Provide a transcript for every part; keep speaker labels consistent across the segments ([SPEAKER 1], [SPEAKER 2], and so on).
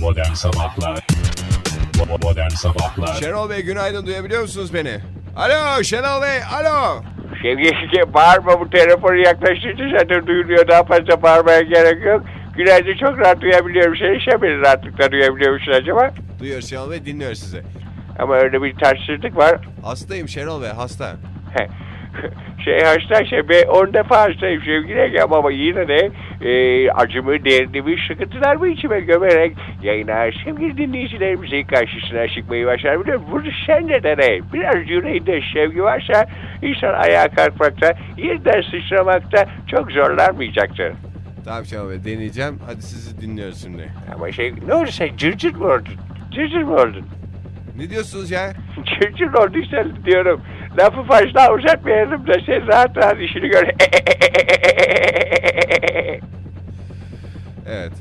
[SPEAKER 1] Modern Sabahlar Bo- Modern Sabahlar
[SPEAKER 2] Şenol Bey günaydın duyabiliyor musunuz beni? Alo Şenol Bey alo.
[SPEAKER 3] Sevgilisice bağırma bu telefonu yaklaştıkça zaten duyuluyor. Daha fazla bağırmaya gerek yok. Günaydın çok rahat duyabiliyorum seni. Sen beni rahatlıkla duyabiliyor musun acaba?
[SPEAKER 2] Duyuyoruz Şenol Bey dinliyor sizi.
[SPEAKER 3] Ama öyle bir tatsızlık var.
[SPEAKER 2] Hastayım Şenol Bey hasta.
[SPEAKER 3] şey hasta şey ben 10 defa hastayım sevgili Egem ama yine de e, acımı, derdimi, sıkıntılarımı içime gömerek yayına sevgili dinleyicilerimizin karşısına çıkmayı başarabiliyorum. Bunu sen de deney. Biraz yüreğinde sevgi varsa insan ayağa kalkmakta, yerden sıçramakta çok zorlanmayacaktır.
[SPEAKER 2] Tamam Şenol Bey deneyeceğim. Hadi sizi dinliyoruz şimdi.
[SPEAKER 3] Ama şey ne oldu sen cırcır mı oldun? Cırcır mı oldun?
[SPEAKER 2] Ne diyorsunuz ya?
[SPEAKER 3] Çirkin olduysa diyorum. Lafı fazla uzatmayalım da sen rahat rahat işini gör.
[SPEAKER 2] Evet.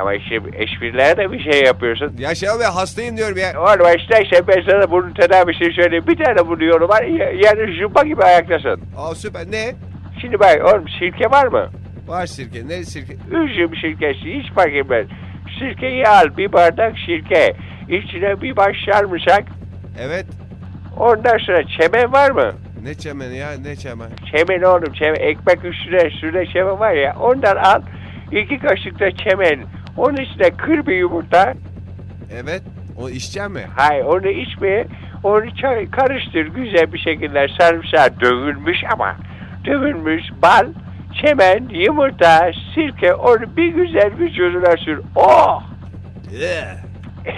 [SPEAKER 3] Ama şimdi espriler de bir şey yapıyorsun.
[SPEAKER 2] Ya Şenol Bey hastayım diyorum ya.
[SPEAKER 3] Oğlum işte işte ben sana bunun tedavisini söyleyeyim. Bir tane buluyorum var. ya- Yani jumpa gibi ayaktasın.
[SPEAKER 2] Aa süper ne?
[SPEAKER 3] Şimdi bak oğlum sirke var mı?
[SPEAKER 2] Var sirke ne sirke?
[SPEAKER 3] Üzüm sirkesi hiç fark etmez. Sirkeyi al bir bardak sirke. İçine bir baş sarımsak.
[SPEAKER 2] Evet.
[SPEAKER 3] Ondan sonra çemen var mı?
[SPEAKER 2] Ne çemeni ya ne çemen?
[SPEAKER 3] Çemen oğlum çemen. Ekmek üstüne üstüne çemen var ya. Ondan al. iki kaşık da çemen. Onun içine kır bir yumurta.
[SPEAKER 2] Evet. O içeceğim mi?
[SPEAKER 3] Hayır onu içme. Onu çay- karıştır güzel bir şekilde sarımsak dövülmüş ama. Dövülmüş bal, çemen, yumurta, sirke onu bir güzel vücuduna sür. Oh!
[SPEAKER 2] Ee,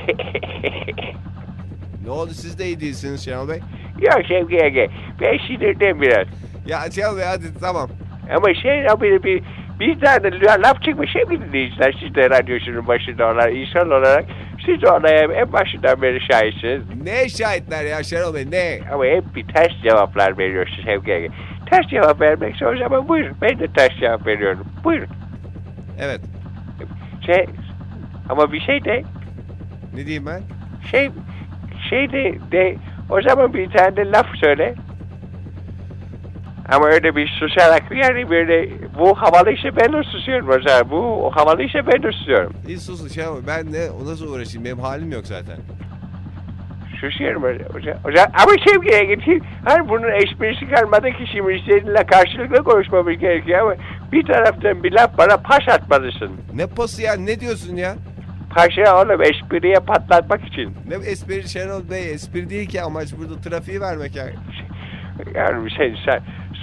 [SPEAKER 2] Ne oldu siz de iyi değilsiniz Şenol Bey.
[SPEAKER 3] Yok Şevki Ege. Ben sinirden biraz.
[SPEAKER 2] Ya Şenol Bey hadi tamam.
[SPEAKER 3] Ama şey ya bir, bir, bir tane la- laf çıkmış hep dinleyiciler. Siz de radyosunun başında olan insan olarak siz de ona hem en başından beri şahitsiniz.
[SPEAKER 2] Ne şahitler ya Şenol Bey ne?
[SPEAKER 3] Ama hep bir ters cevaplar veriyorsunuz Sevgi Ege. Ters cevap vermekse o zaman buyurun. Ben de ters cevap veriyorum. Buyurun.
[SPEAKER 2] Evet.
[SPEAKER 3] Şey, ama bir şey de
[SPEAKER 2] Ne diyeyim ben?
[SPEAKER 3] şey şey de, de o zaman bir tane de laf söyle. Ama öyle bir susarak yani böyle bu havalıysa ben de susuyorum o zaman. Bu havalıysa ben de susuyorum.
[SPEAKER 2] İyi susun Şenol Bey. Ben ne? O nasıl uğraşayım? Benim halim yok zaten.
[SPEAKER 3] Şaşıyorum hocam. hocam. hocam. Ama Şevki'ye gideyim. Hani bunun esprisi kalmadı ki şimdi seninle karşılıklı konuşmamız gerekiyor ama bir taraftan bir laf bana paş atmalısın.
[SPEAKER 2] Ne pası ya? Ne diyorsun ya?
[SPEAKER 3] Paşa oğlum espriye patlatmak için.
[SPEAKER 2] Ne espri Şenol Bey? Espri değil ki amaç burada trafiği vermek ya.
[SPEAKER 3] Yani sen, sen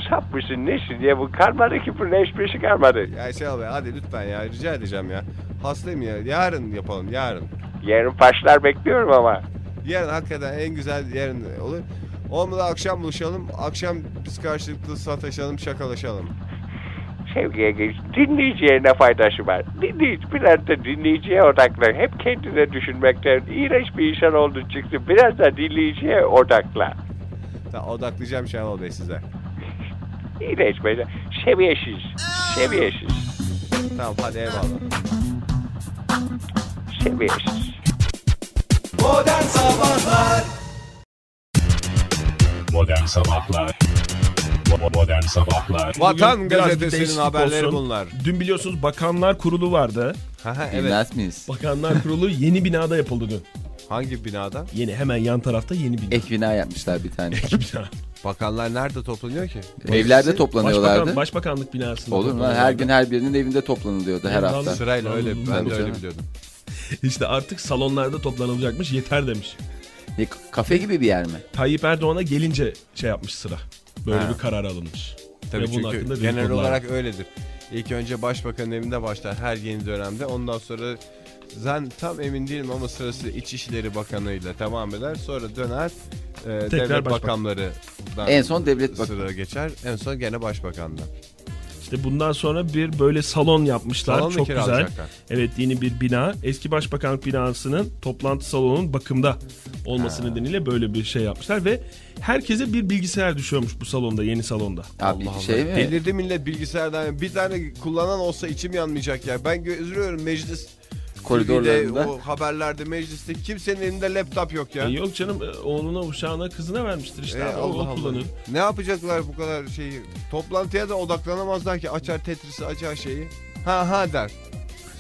[SPEAKER 3] sap mısın nesin diye bu kalmadı ki bunun esprisi kalmadı.
[SPEAKER 2] Ya Şenol Bey hadi lütfen ya rica edeceğim ya. Hastayım ya. Yarın yapalım yarın.
[SPEAKER 3] Yarın paşlar bekliyorum ama.
[SPEAKER 2] Yarın hakikaten en güzel yarın olur. Olmadı akşam buluşalım. Akşam biz karşılıklı sataşalım, şakalaşalım.
[SPEAKER 3] Sevgiye geç. Dinleyiciye ne faydası var? Dinleyici, biraz da dinleyiciye odaklan. Hep kendine düşünmekten iğrenç bir insan oldun çıktı. Biraz da dinleyiciye odaklan.
[SPEAKER 2] Ta odaklayacağım Şenol Bey size.
[SPEAKER 3] İğrenç böyle. Seviyesiz. Seviyesiz.
[SPEAKER 2] Tamam hadi eyvallah.
[SPEAKER 3] Seviyesiz.
[SPEAKER 1] Modern Sabahlar Bo- Modern Sabahlar
[SPEAKER 2] Vatan
[SPEAKER 4] Bugün biraz bir
[SPEAKER 2] gazetesinin
[SPEAKER 4] değişiklik
[SPEAKER 2] haberleri
[SPEAKER 4] olsun.
[SPEAKER 2] bunlar.
[SPEAKER 4] Dün biliyorsunuz Bakanlar Kurulu vardı.
[SPEAKER 2] Haha evet.
[SPEAKER 5] Bilmez miyiz?
[SPEAKER 4] Bakanlar Kurulu yeni binada yapıldı dün.
[SPEAKER 2] Hangi binada?
[SPEAKER 4] Yeni hemen yan tarafta yeni bina.
[SPEAKER 5] Ek bina yapmışlar bir tane.
[SPEAKER 4] Ek bina.
[SPEAKER 2] Bakanlar nerede toplanıyor ki?
[SPEAKER 5] Evlerde toplanıyorlardı.
[SPEAKER 4] Başbakan, başbakanlık binasında.
[SPEAKER 5] Olur mu lan? Her
[SPEAKER 4] toplanıyorlardı.
[SPEAKER 5] gün her birinin evinde toplanılıyordu her
[SPEAKER 4] Ondan
[SPEAKER 5] hafta.
[SPEAKER 4] sonra-
[SPEAKER 2] Sırayla öyle ben de
[SPEAKER 5] Tabii
[SPEAKER 2] öyle
[SPEAKER 5] canım.
[SPEAKER 2] biliyordum.
[SPEAKER 4] İşte artık salonlarda toplanılacakmış yeter demiş.
[SPEAKER 5] Ne, kafe gibi bir yer mi?
[SPEAKER 4] Tayyip Erdoğan'a gelince şey yapmış sıra. Böyle bir karar alınmış.
[SPEAKER 2] Tabii
[SPEAKER 4] Ve bunun hakkında
[SPEAKER 2] çünkü genel
[SPEAKER 4] dedikodular var.
[SPEAKER 2] olarak öyledir. İlk önce başbakanın evinde başlar her yeni dönemde. Ondan sonra zan tam emin değilim ama sırası İçişleri Bakanı'yla devam eder. Sonra döner e, devlet
[SPEAKER 4] başbakan.
[SPEAKER 2] bakanları
[SPEAKER 5] En son devlet bak.
[SPEAKER 2] sıra geçer. En son gene başbakanda.
[SPEAKER 4] İşte bundan sonra bir böyle salon yapmışlar.
[SPEAKER 2] Salon mu
[SPEAKER 4] Çok güzel.
[SPEAKER 2] kiralayacaklar?
[SPEAKER 4] Evet yeni bir bina. Eski başbakanlık binasının toplantı salonunun bakımda olması nedeniyle böyle bir şey yapmışlar ve herkese bir bilgisayar düşüyormuş bu salonda, yeni salonda.
[SPEAKER 5] Abi
[SPEAKER 2] Allah
[SPEAKER 5] şey
[SPEAKER 2] Allah.
[SPEAKER 5] mi?
[SPEAKER 2] Delirdi millet bilgisayardan. Bir tane kullanan olsa içim yanmayacak ya. Ben gö- üzülüyorum meclis
[SPEAKER 5] Koridorlarında.
[SPEAKER 2] TV'de, o haberlerde mecliste kimsenin elinde laptop yok ya.
[SPEAKER 4] E, yok canım e, oğluna, uşağına, kızına vermiştir işte.
[SPEAKER 2] E,
[SPEAKER 4] abi, o- o, kullanıyor.
[SPEAKER 2] Ne yapacaklar bu kadar şeyi? Toplantıya da odaklanamazlar ki. Açar Tetris'i, açar şeyi. Ha ha der.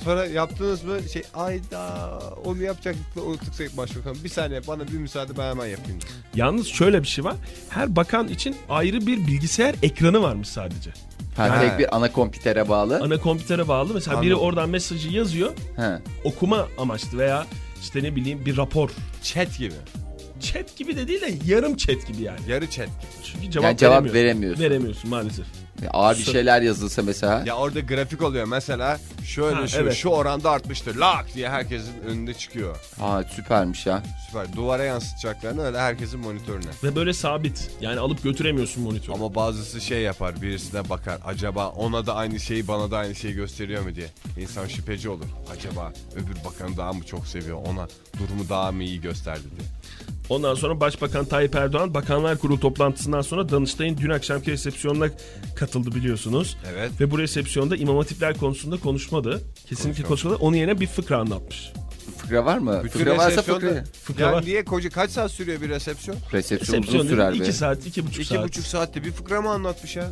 [SPEAKER 2] Sonra yaptınız mı şey ayda onu yapacaktık da unuttuk Sayın Başbakan. Bir saniye bana bir müsaade ben hemen yapayım.
[SPEAKER 4] Yalnız şöyle bir şey var. Her bakan için ayrı bir bilgisayar ekranı varmış sadece.
[SPEAKER 5] Ha,
[SPEAKER 2] Ha.
[SPEAKER 5] tek bir ana kompütere bağlı.
[SPEAKER 4] Ana kompütere bağlı. Mesela biri
[SPEAKER 2] Anladım.
[SPEAKER 4] oradan mesajı yazıyor.
[SPEAKER 5] Ha.
[SPEAKER 4] Okuma amaçlı veya işte ne bileyim bir rapor.
[SPEAKER 2] Chat gibi.
[SPEAKER 4] Chat gibi de değil de yarım chat gibi yani.
[SPEAKER 2] Yarı chat gibi.
[SPEAKER 4] Çünkü
[SPEAKER 5] Yani
[SPEAKER 4] cevap,
[SPEAKER 5] cevap
[SPEAKER 4] veremiyor.
[SPEAKER 5] veremiyorsun.
[SPEAKER 4] Veremiyorsun maalesef.
[SPEAKER 5] E, Ağır bir şeyler yazılsa mesela.
[SPEAKER 2] Ya orada grafik oluyor mesela şöyle
[SPEAKER 4] Ha,
[SPEAKER 2] şu,
[SPEAKER 4] evet.
[SPEAKER 2] şu oranda artmıştır lak diye herkesin önünde çıkıyor.
[SPEAKER 5] Aa süpermiş ya.
[SPEAKER 2] Süper. Duvara yansıtacaklarını öyle herkesin monitörüne.
[SPEAKER 4] Ve böyle sabit. Yani alıp götüremiyorsun monitörü.
[SPEAKER 2] Ama bazısı şey yapar birisine bakar acaba ona da aynı şeyi bana da aynı şeyi gösteriyor mu diye. İnsan şüpheci olur. Acaba öbür bakanı daha mı çok seviyor ona durumu daha mı iyi gösterdi diye.
[SPEAKER 4] Ondan sonra Başbakan Tayyip Erdoğan Bakanlar Kurulu toplantısından sonra Danıştay'ın dün akşamki resepsiyonuna katıldı biliyorsunuz.
[SPEAKER 2] Evet.
[SPEAKER 4] Ve bu resepsiyonda imam hatipler konusunda konuşmadı. Kesinlikle konuşmadı. Onun yerine bir fıkra anlatmış.
[SPEAKER 5] Fıkra var mı?
[SPEAKER 2] Bütün
[SPEAKER 5] fıkra varsa
[SPEAKER 2] resepsiyonda-
[SPEAKER 5] fıkra.
[SPEAKER 4] Fıkra
[SPEAKER 2] yani
[SPEAKER 4] var.
[SPEAKER 2] niye koca kaç saat sürüyor bir resepsiyon?
[SPEAKER 5] Resepsiyon uzun
[SPEAKER 4] Resepsiyon
[SPEAKER 5] sürer
[SPEAKER 4] dedi,
[SPEAKER 5] be.
[SPEAKER 4] iki saat, iki buçuk
[SPEAKER 2] İki
[SPEAKER 4] saat.
[SPEAKER 2] buçuk saatte bir fıkra mı anlatmış ya?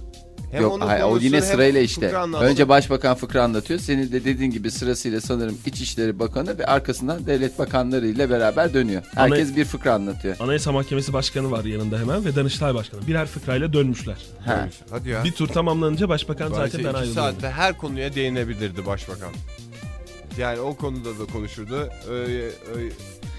[SPEAKER 2] Hem
[SPEAKER 5] Yok
[SPEAKER 2] onun
[SPEAKER 5] hayır, o
[SPEAKER 2] konusunu
[SPEAKER 5] yine
[SPEAKER 2] hem
[SPEAKER 5] sırayla
[SPEAKER 2] fıkra
[SPEAKER 5] işte.
[SPEAKER 2] anlatmadı.
[SPEAKER 5] Önce başbakan fıkra anlatıyor. Senin de dediğin gibi sırasıyla sanırım İçişleri Bakanı ve arkasından devlet bakanları ile beraber dönüyor. Herkes bir fıkra anlatıyor.
[SPEAKER 4] Anayasa Mahkemesi Başkanı var yanında hemen ve Danıştay Başkanı. Birer fıkrayla dönmüşler.
[SPEAKER 5] Ha.
[SPEAKER 2] şey. Hadi ya.
[SPEAKER 4] Bir tur tamamlanınca Başbakan
[SPEAKER 2] Bence
[SPEAKER 4] zaten
[SPEAKER 2] şey, iki
[SPEAKER 4] ayrıldı.
[SPEAKER 2] saatte her konuya değinebilirdi başbakan. Yani o konuda da konuşurdu. Öyle, öyle-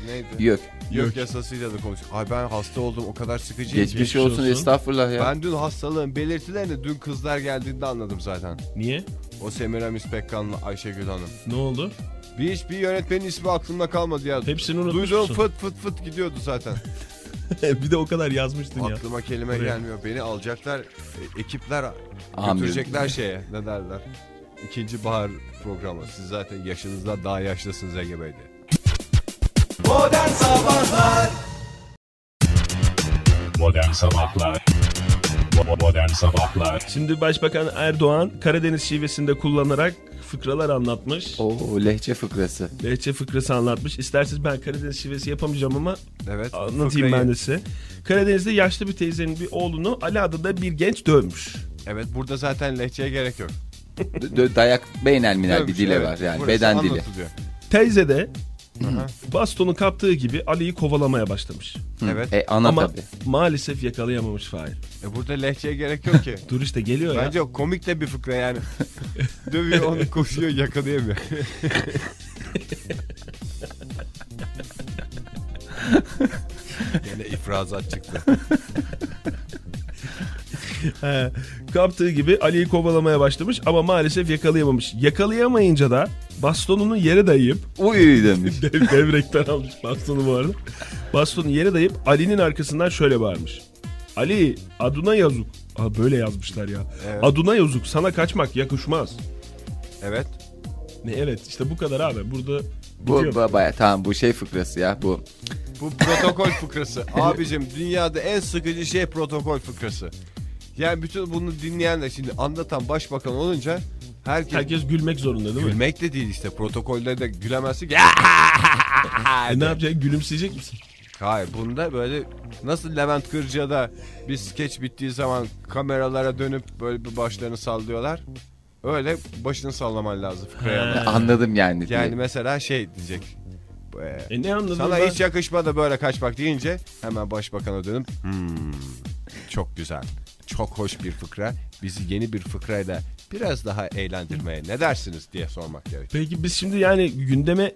[SPEAKER 2] neydi?
[SPEAKER 5] Yok.
[SPEAKER 2] Yok yasasıyla da konuşuyor. Ay ben hasta oldum o kadar sıkıcı.
[SPEAKER 5] Geçmiş,
[SPEAKER 4] geçmiş
[SPEAKER 5] olsun,
[SPEAKER 4] olsun.
[SPEAKER 5] estağfurullah ya.
[SPEAKER 2] Ben dün hastalığın belirtilerini dün kızlar geldiğinde anladım zaten.
[SPEAKER 4] Niye?
[SPEAKER 2] O Semiramis Pekkan'la Ayşegül Hanım.
[SPEAKER 4] Ne oldu?
[SPEAKER 2] Bir hiçbir yönetmenin ismi aklımda kalmadı ya.
[SPEAKER 4] Hepsini unutmuşsun.
[SPEAKER 2] Duyduğum fıt fıt fıt gidiyordu zaten.
[SPEAKER 4] bir de o kadar yazmıştın ya.
[SPEAKER 2] Aklıma kelime
[SPEAKER 4] Buraya.
[SPEAKER 2] gelmiyor. Beni alacaklar. e, Ekipler
[SPEAKER 5] Amirim.
[SPEAKER 2] götürecekler şeye. Ne derler? İkinci bahar programı. Siz zaten yaşınızda daha yaşlısınız Ege Bey diye.
[SPEAKER 1] Modern Sabahlar Modern Sabahlar
[SPEAKER 4] Şimdi Başbakan Erdoğan Karadeniz şivesinde kullanarak fıkralar anlatmış.
[SPEAKER 5] Oo lehçe fıkrası.
[SPEAKER 4] Lehçe fıkrası anlatmış. İsterseniz ben Karadeniz şivesi yapamayacağım ama
[SPEAKER 2] Evet.
[SPEAKER 4] anlatayım
[SPEAKER 2] fıkrayı-
[SPEAKER 4] ben de size. Karadeniz'de yaşlı bir teyzenin bir oğlunu Aladdin'da bir genç dövmüş.
[SPEAKER 2] Evet burada zaten lehçeye gerek yok.
[SPEAKER 5] D- d- Dayak beynel minel bir
[SPEAKER 2] Dövmüş,
[SPEAKER 5] dile
[SPEAKER 2] şey, evet.
[SPEAKER 5] var yani
[SPEAKER 2] Burası
[SPEAKER 5] beden dili.
[SPEAKER 2] anlatılıyor.
[SPEAKER 4] Teyze de bastonu kaptığı gibi Ali'yi kovalamaya başlamış.
[SPEAKER 2] Evet.
[SPEAKER 5] E ana
[SPEAKER 4] ama
[SPEAKER 5] tabii.
[SPEAKER 4] maalesef yakalayamamış Fahir.
[SPEAKER 2] E, burada lehçeye gerek yok ki.
[SPEAKER 4] Dur işte geliyor ya.
[SPEAKER 2] Bence o komik de bir fıkra yani. Dövüyor onu koşuyor yakalayamıyor. Gene ifrazat çıktı.
[SPEAKER 4] He. Kaptığı gibi Ali'yi kovalamaya başlamış ama maalesef yakalayamamış. Yakalayamayınca da bastonunu yere dayayıp
[SPEAKER 5] Uy demiş.
[SPEAKER 4] Dev, devrekten almış bastonu bu arada. Bastonu yere dayayıp Ali'nin arkasından şöyle bağırmış. Ali aduna yazık. Aa, böyle yazmışlar ya.
[SPEAKER 2] Evet.
[SPEAKER 4] Aduna yazık sana kaçmak yakışmaz.
[SPEAKER 2] Evet.
[SPEAKER 4] Ne evet işte bu kadar abi burada
[SPEAKER 5] Bu
[SPEAKER 4] bitiyor.
[SPEAKER 5] ba- baya tamam bu şey fıkrası ya bu.
[SPEAKER 2] Bu protokol fıkrası. Abicim dünyada en sıkıcı şey protokol fıkrası. Yani bütün bunu dinleyen de şimdi anlatan başbakan olunca herkes,
[SPEAKER 4] Herkes gülmek zorunda değil mi?
[SPEAKER 2] gülmek de değil işte protokolde de gülemezsin ki.
[SPEAKER 4] E, ne yapacak gülümseyecek misin?
[SPEAKER 2] Hayır bunda böyle nasıl Levent Kırca'da bir skeç bittiği zaman kameralara dönüp böyle bir başlarını sallıyorlar. Öyle başını sallaman lazım fıkraya.
[SPEAKER 4] He.
[SPEAKER 5] Anladım yani. diye.
[SPEAKER 2] Yani mesela şey diyecek. e,
[SPEAKER 4] E ne anladın
[SPEAKER 2] Sana
[SPEAKER 4] ben?
[SPEAKER 2] hiç yakışmadı böyle kaçmak deyince hemen başbakana dönüp "Hmm, çok güzel. Çok hoş bir fıkra. Bizi yeni bir fıkrayla biraz daha eğlendirmeye ne dersiniz diye sormak gerek.
[SPEAKER 4] Peki biz şimdi yani gündeme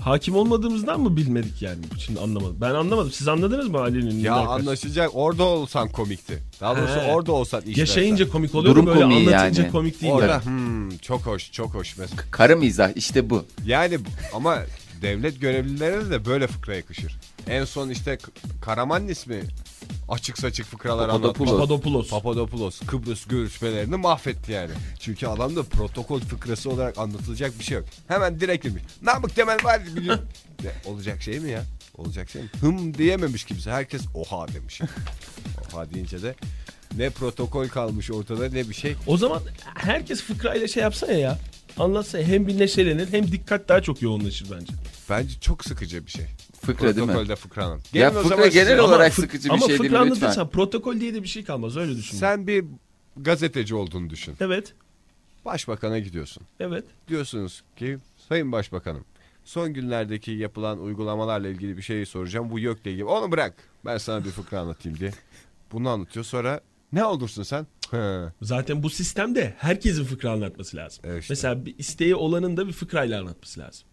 [SPEAKER 4] hakim olmadığımızdan mı bilmedik yani? Şimdi anlamadım. Ben anlamadım. Siz anladınız mı Ali'nin?
[SPEAKER 2] Ya
[SPEAKER 4] alakası?
[SPEAKER 2] anlaşılacak orada olsan komikti. Daha doğrusu
[SPEAKER 4] He.
[SPEAKER 2] orada olsan işlersen.
[SPEAKER 4] Yaşayınca komik oluyor da
[SPEAKER 5] Durum
[SPEAKER 4] böyle
[SPEAKER 5] komiği
[SPEAKER 4] anlatınca
[SPEAKER 5] yani.
[SPEAKER 4] komik değil.
[SPEAKER 2] Orada hmm, çok hoş çok hoş mesela.
[SPEAKER 5] Karı mizah işte bu.
[SPEAKER 2] Yani ama devlet görevlilerine de böyle fıkra yakışır. En son işte K- Karamanlis mi açık saçık fıkralar
[SPEAKER 5] Papadopoulos.
[SPEAKER 2] anlatmış.
[SPEAKER 4] Papadopoulos.
[SPEAKER 2] Papadopoulos Kıbrıs görüşmelerini mahvetti yani. Çünkü adamda protokol fıkrası olarak anlatılacak bir şey yok. Hemen direkt demiş. Namık Temel var biliyor. Ne, olacak şey mi ya? Olacak şey mi? Hım diyememiş kimse. Herkes oha demiş. oha deyince de ne protokol kalmış ortada ne bir şey.
[SPEAKER 4] O zaman herkes fıkrayla şey yapsa ya. Anlatsa hem bir neşelenir hem dikkat daha çok yoğunlaşır bence.
[SPEAKER 2] Bence çok sıkıcı bir şey.
[SPEAKER 5] Fıkra değil mi?
[SPEAKER 2] Protokolde fıkranın.
[SPEAKER 5] Ya
[SPEAKER 2] Gelin o
[SPEAKER 5] fıkra
[SPEAKER 2] zaman size-
[SPEAKER 5] genel olarak
[SPEAKER 4] fık-
[SPEAKER 5] sıkıcı bir
[SPEAKER 4] ama
[SPEAKER 5] şey değil
[SPEAKER 4] fıkra
[SPEAKER 5] mi? Lütfen.
[SPEAKER 4] anlatırsan protokol diye de bir şey kalmaz öyle düşün.
[SPEAKER 2] Sen bir gazeteci olduğunu düşün.
[SPEAKER 4] Evet.
[SPEAKER 2] Başbakan'a gidiyorsun.
[SPEAKER 4] Evet.
[SPEAKER 2] Diyorsunuz ki Sayın Başbakanım son günlerdeki yapılan uygulamalarla ilgili bir şey soracağım. Bu YÖK'le ilgili. Onu bırak. Ben sana bir fıkra anlatayım diye. Bunu anlatıyor. Sonra ne olursun sen? Hı.
[SPEAKER 4] Zaten bu sistemde herkesin fıkra anlatması lazım.
[SPEAKER 2] Evet işte.
[SPEAKER 4] Mesela bir isteği olanın da bir fıkrayla anlatması lazım.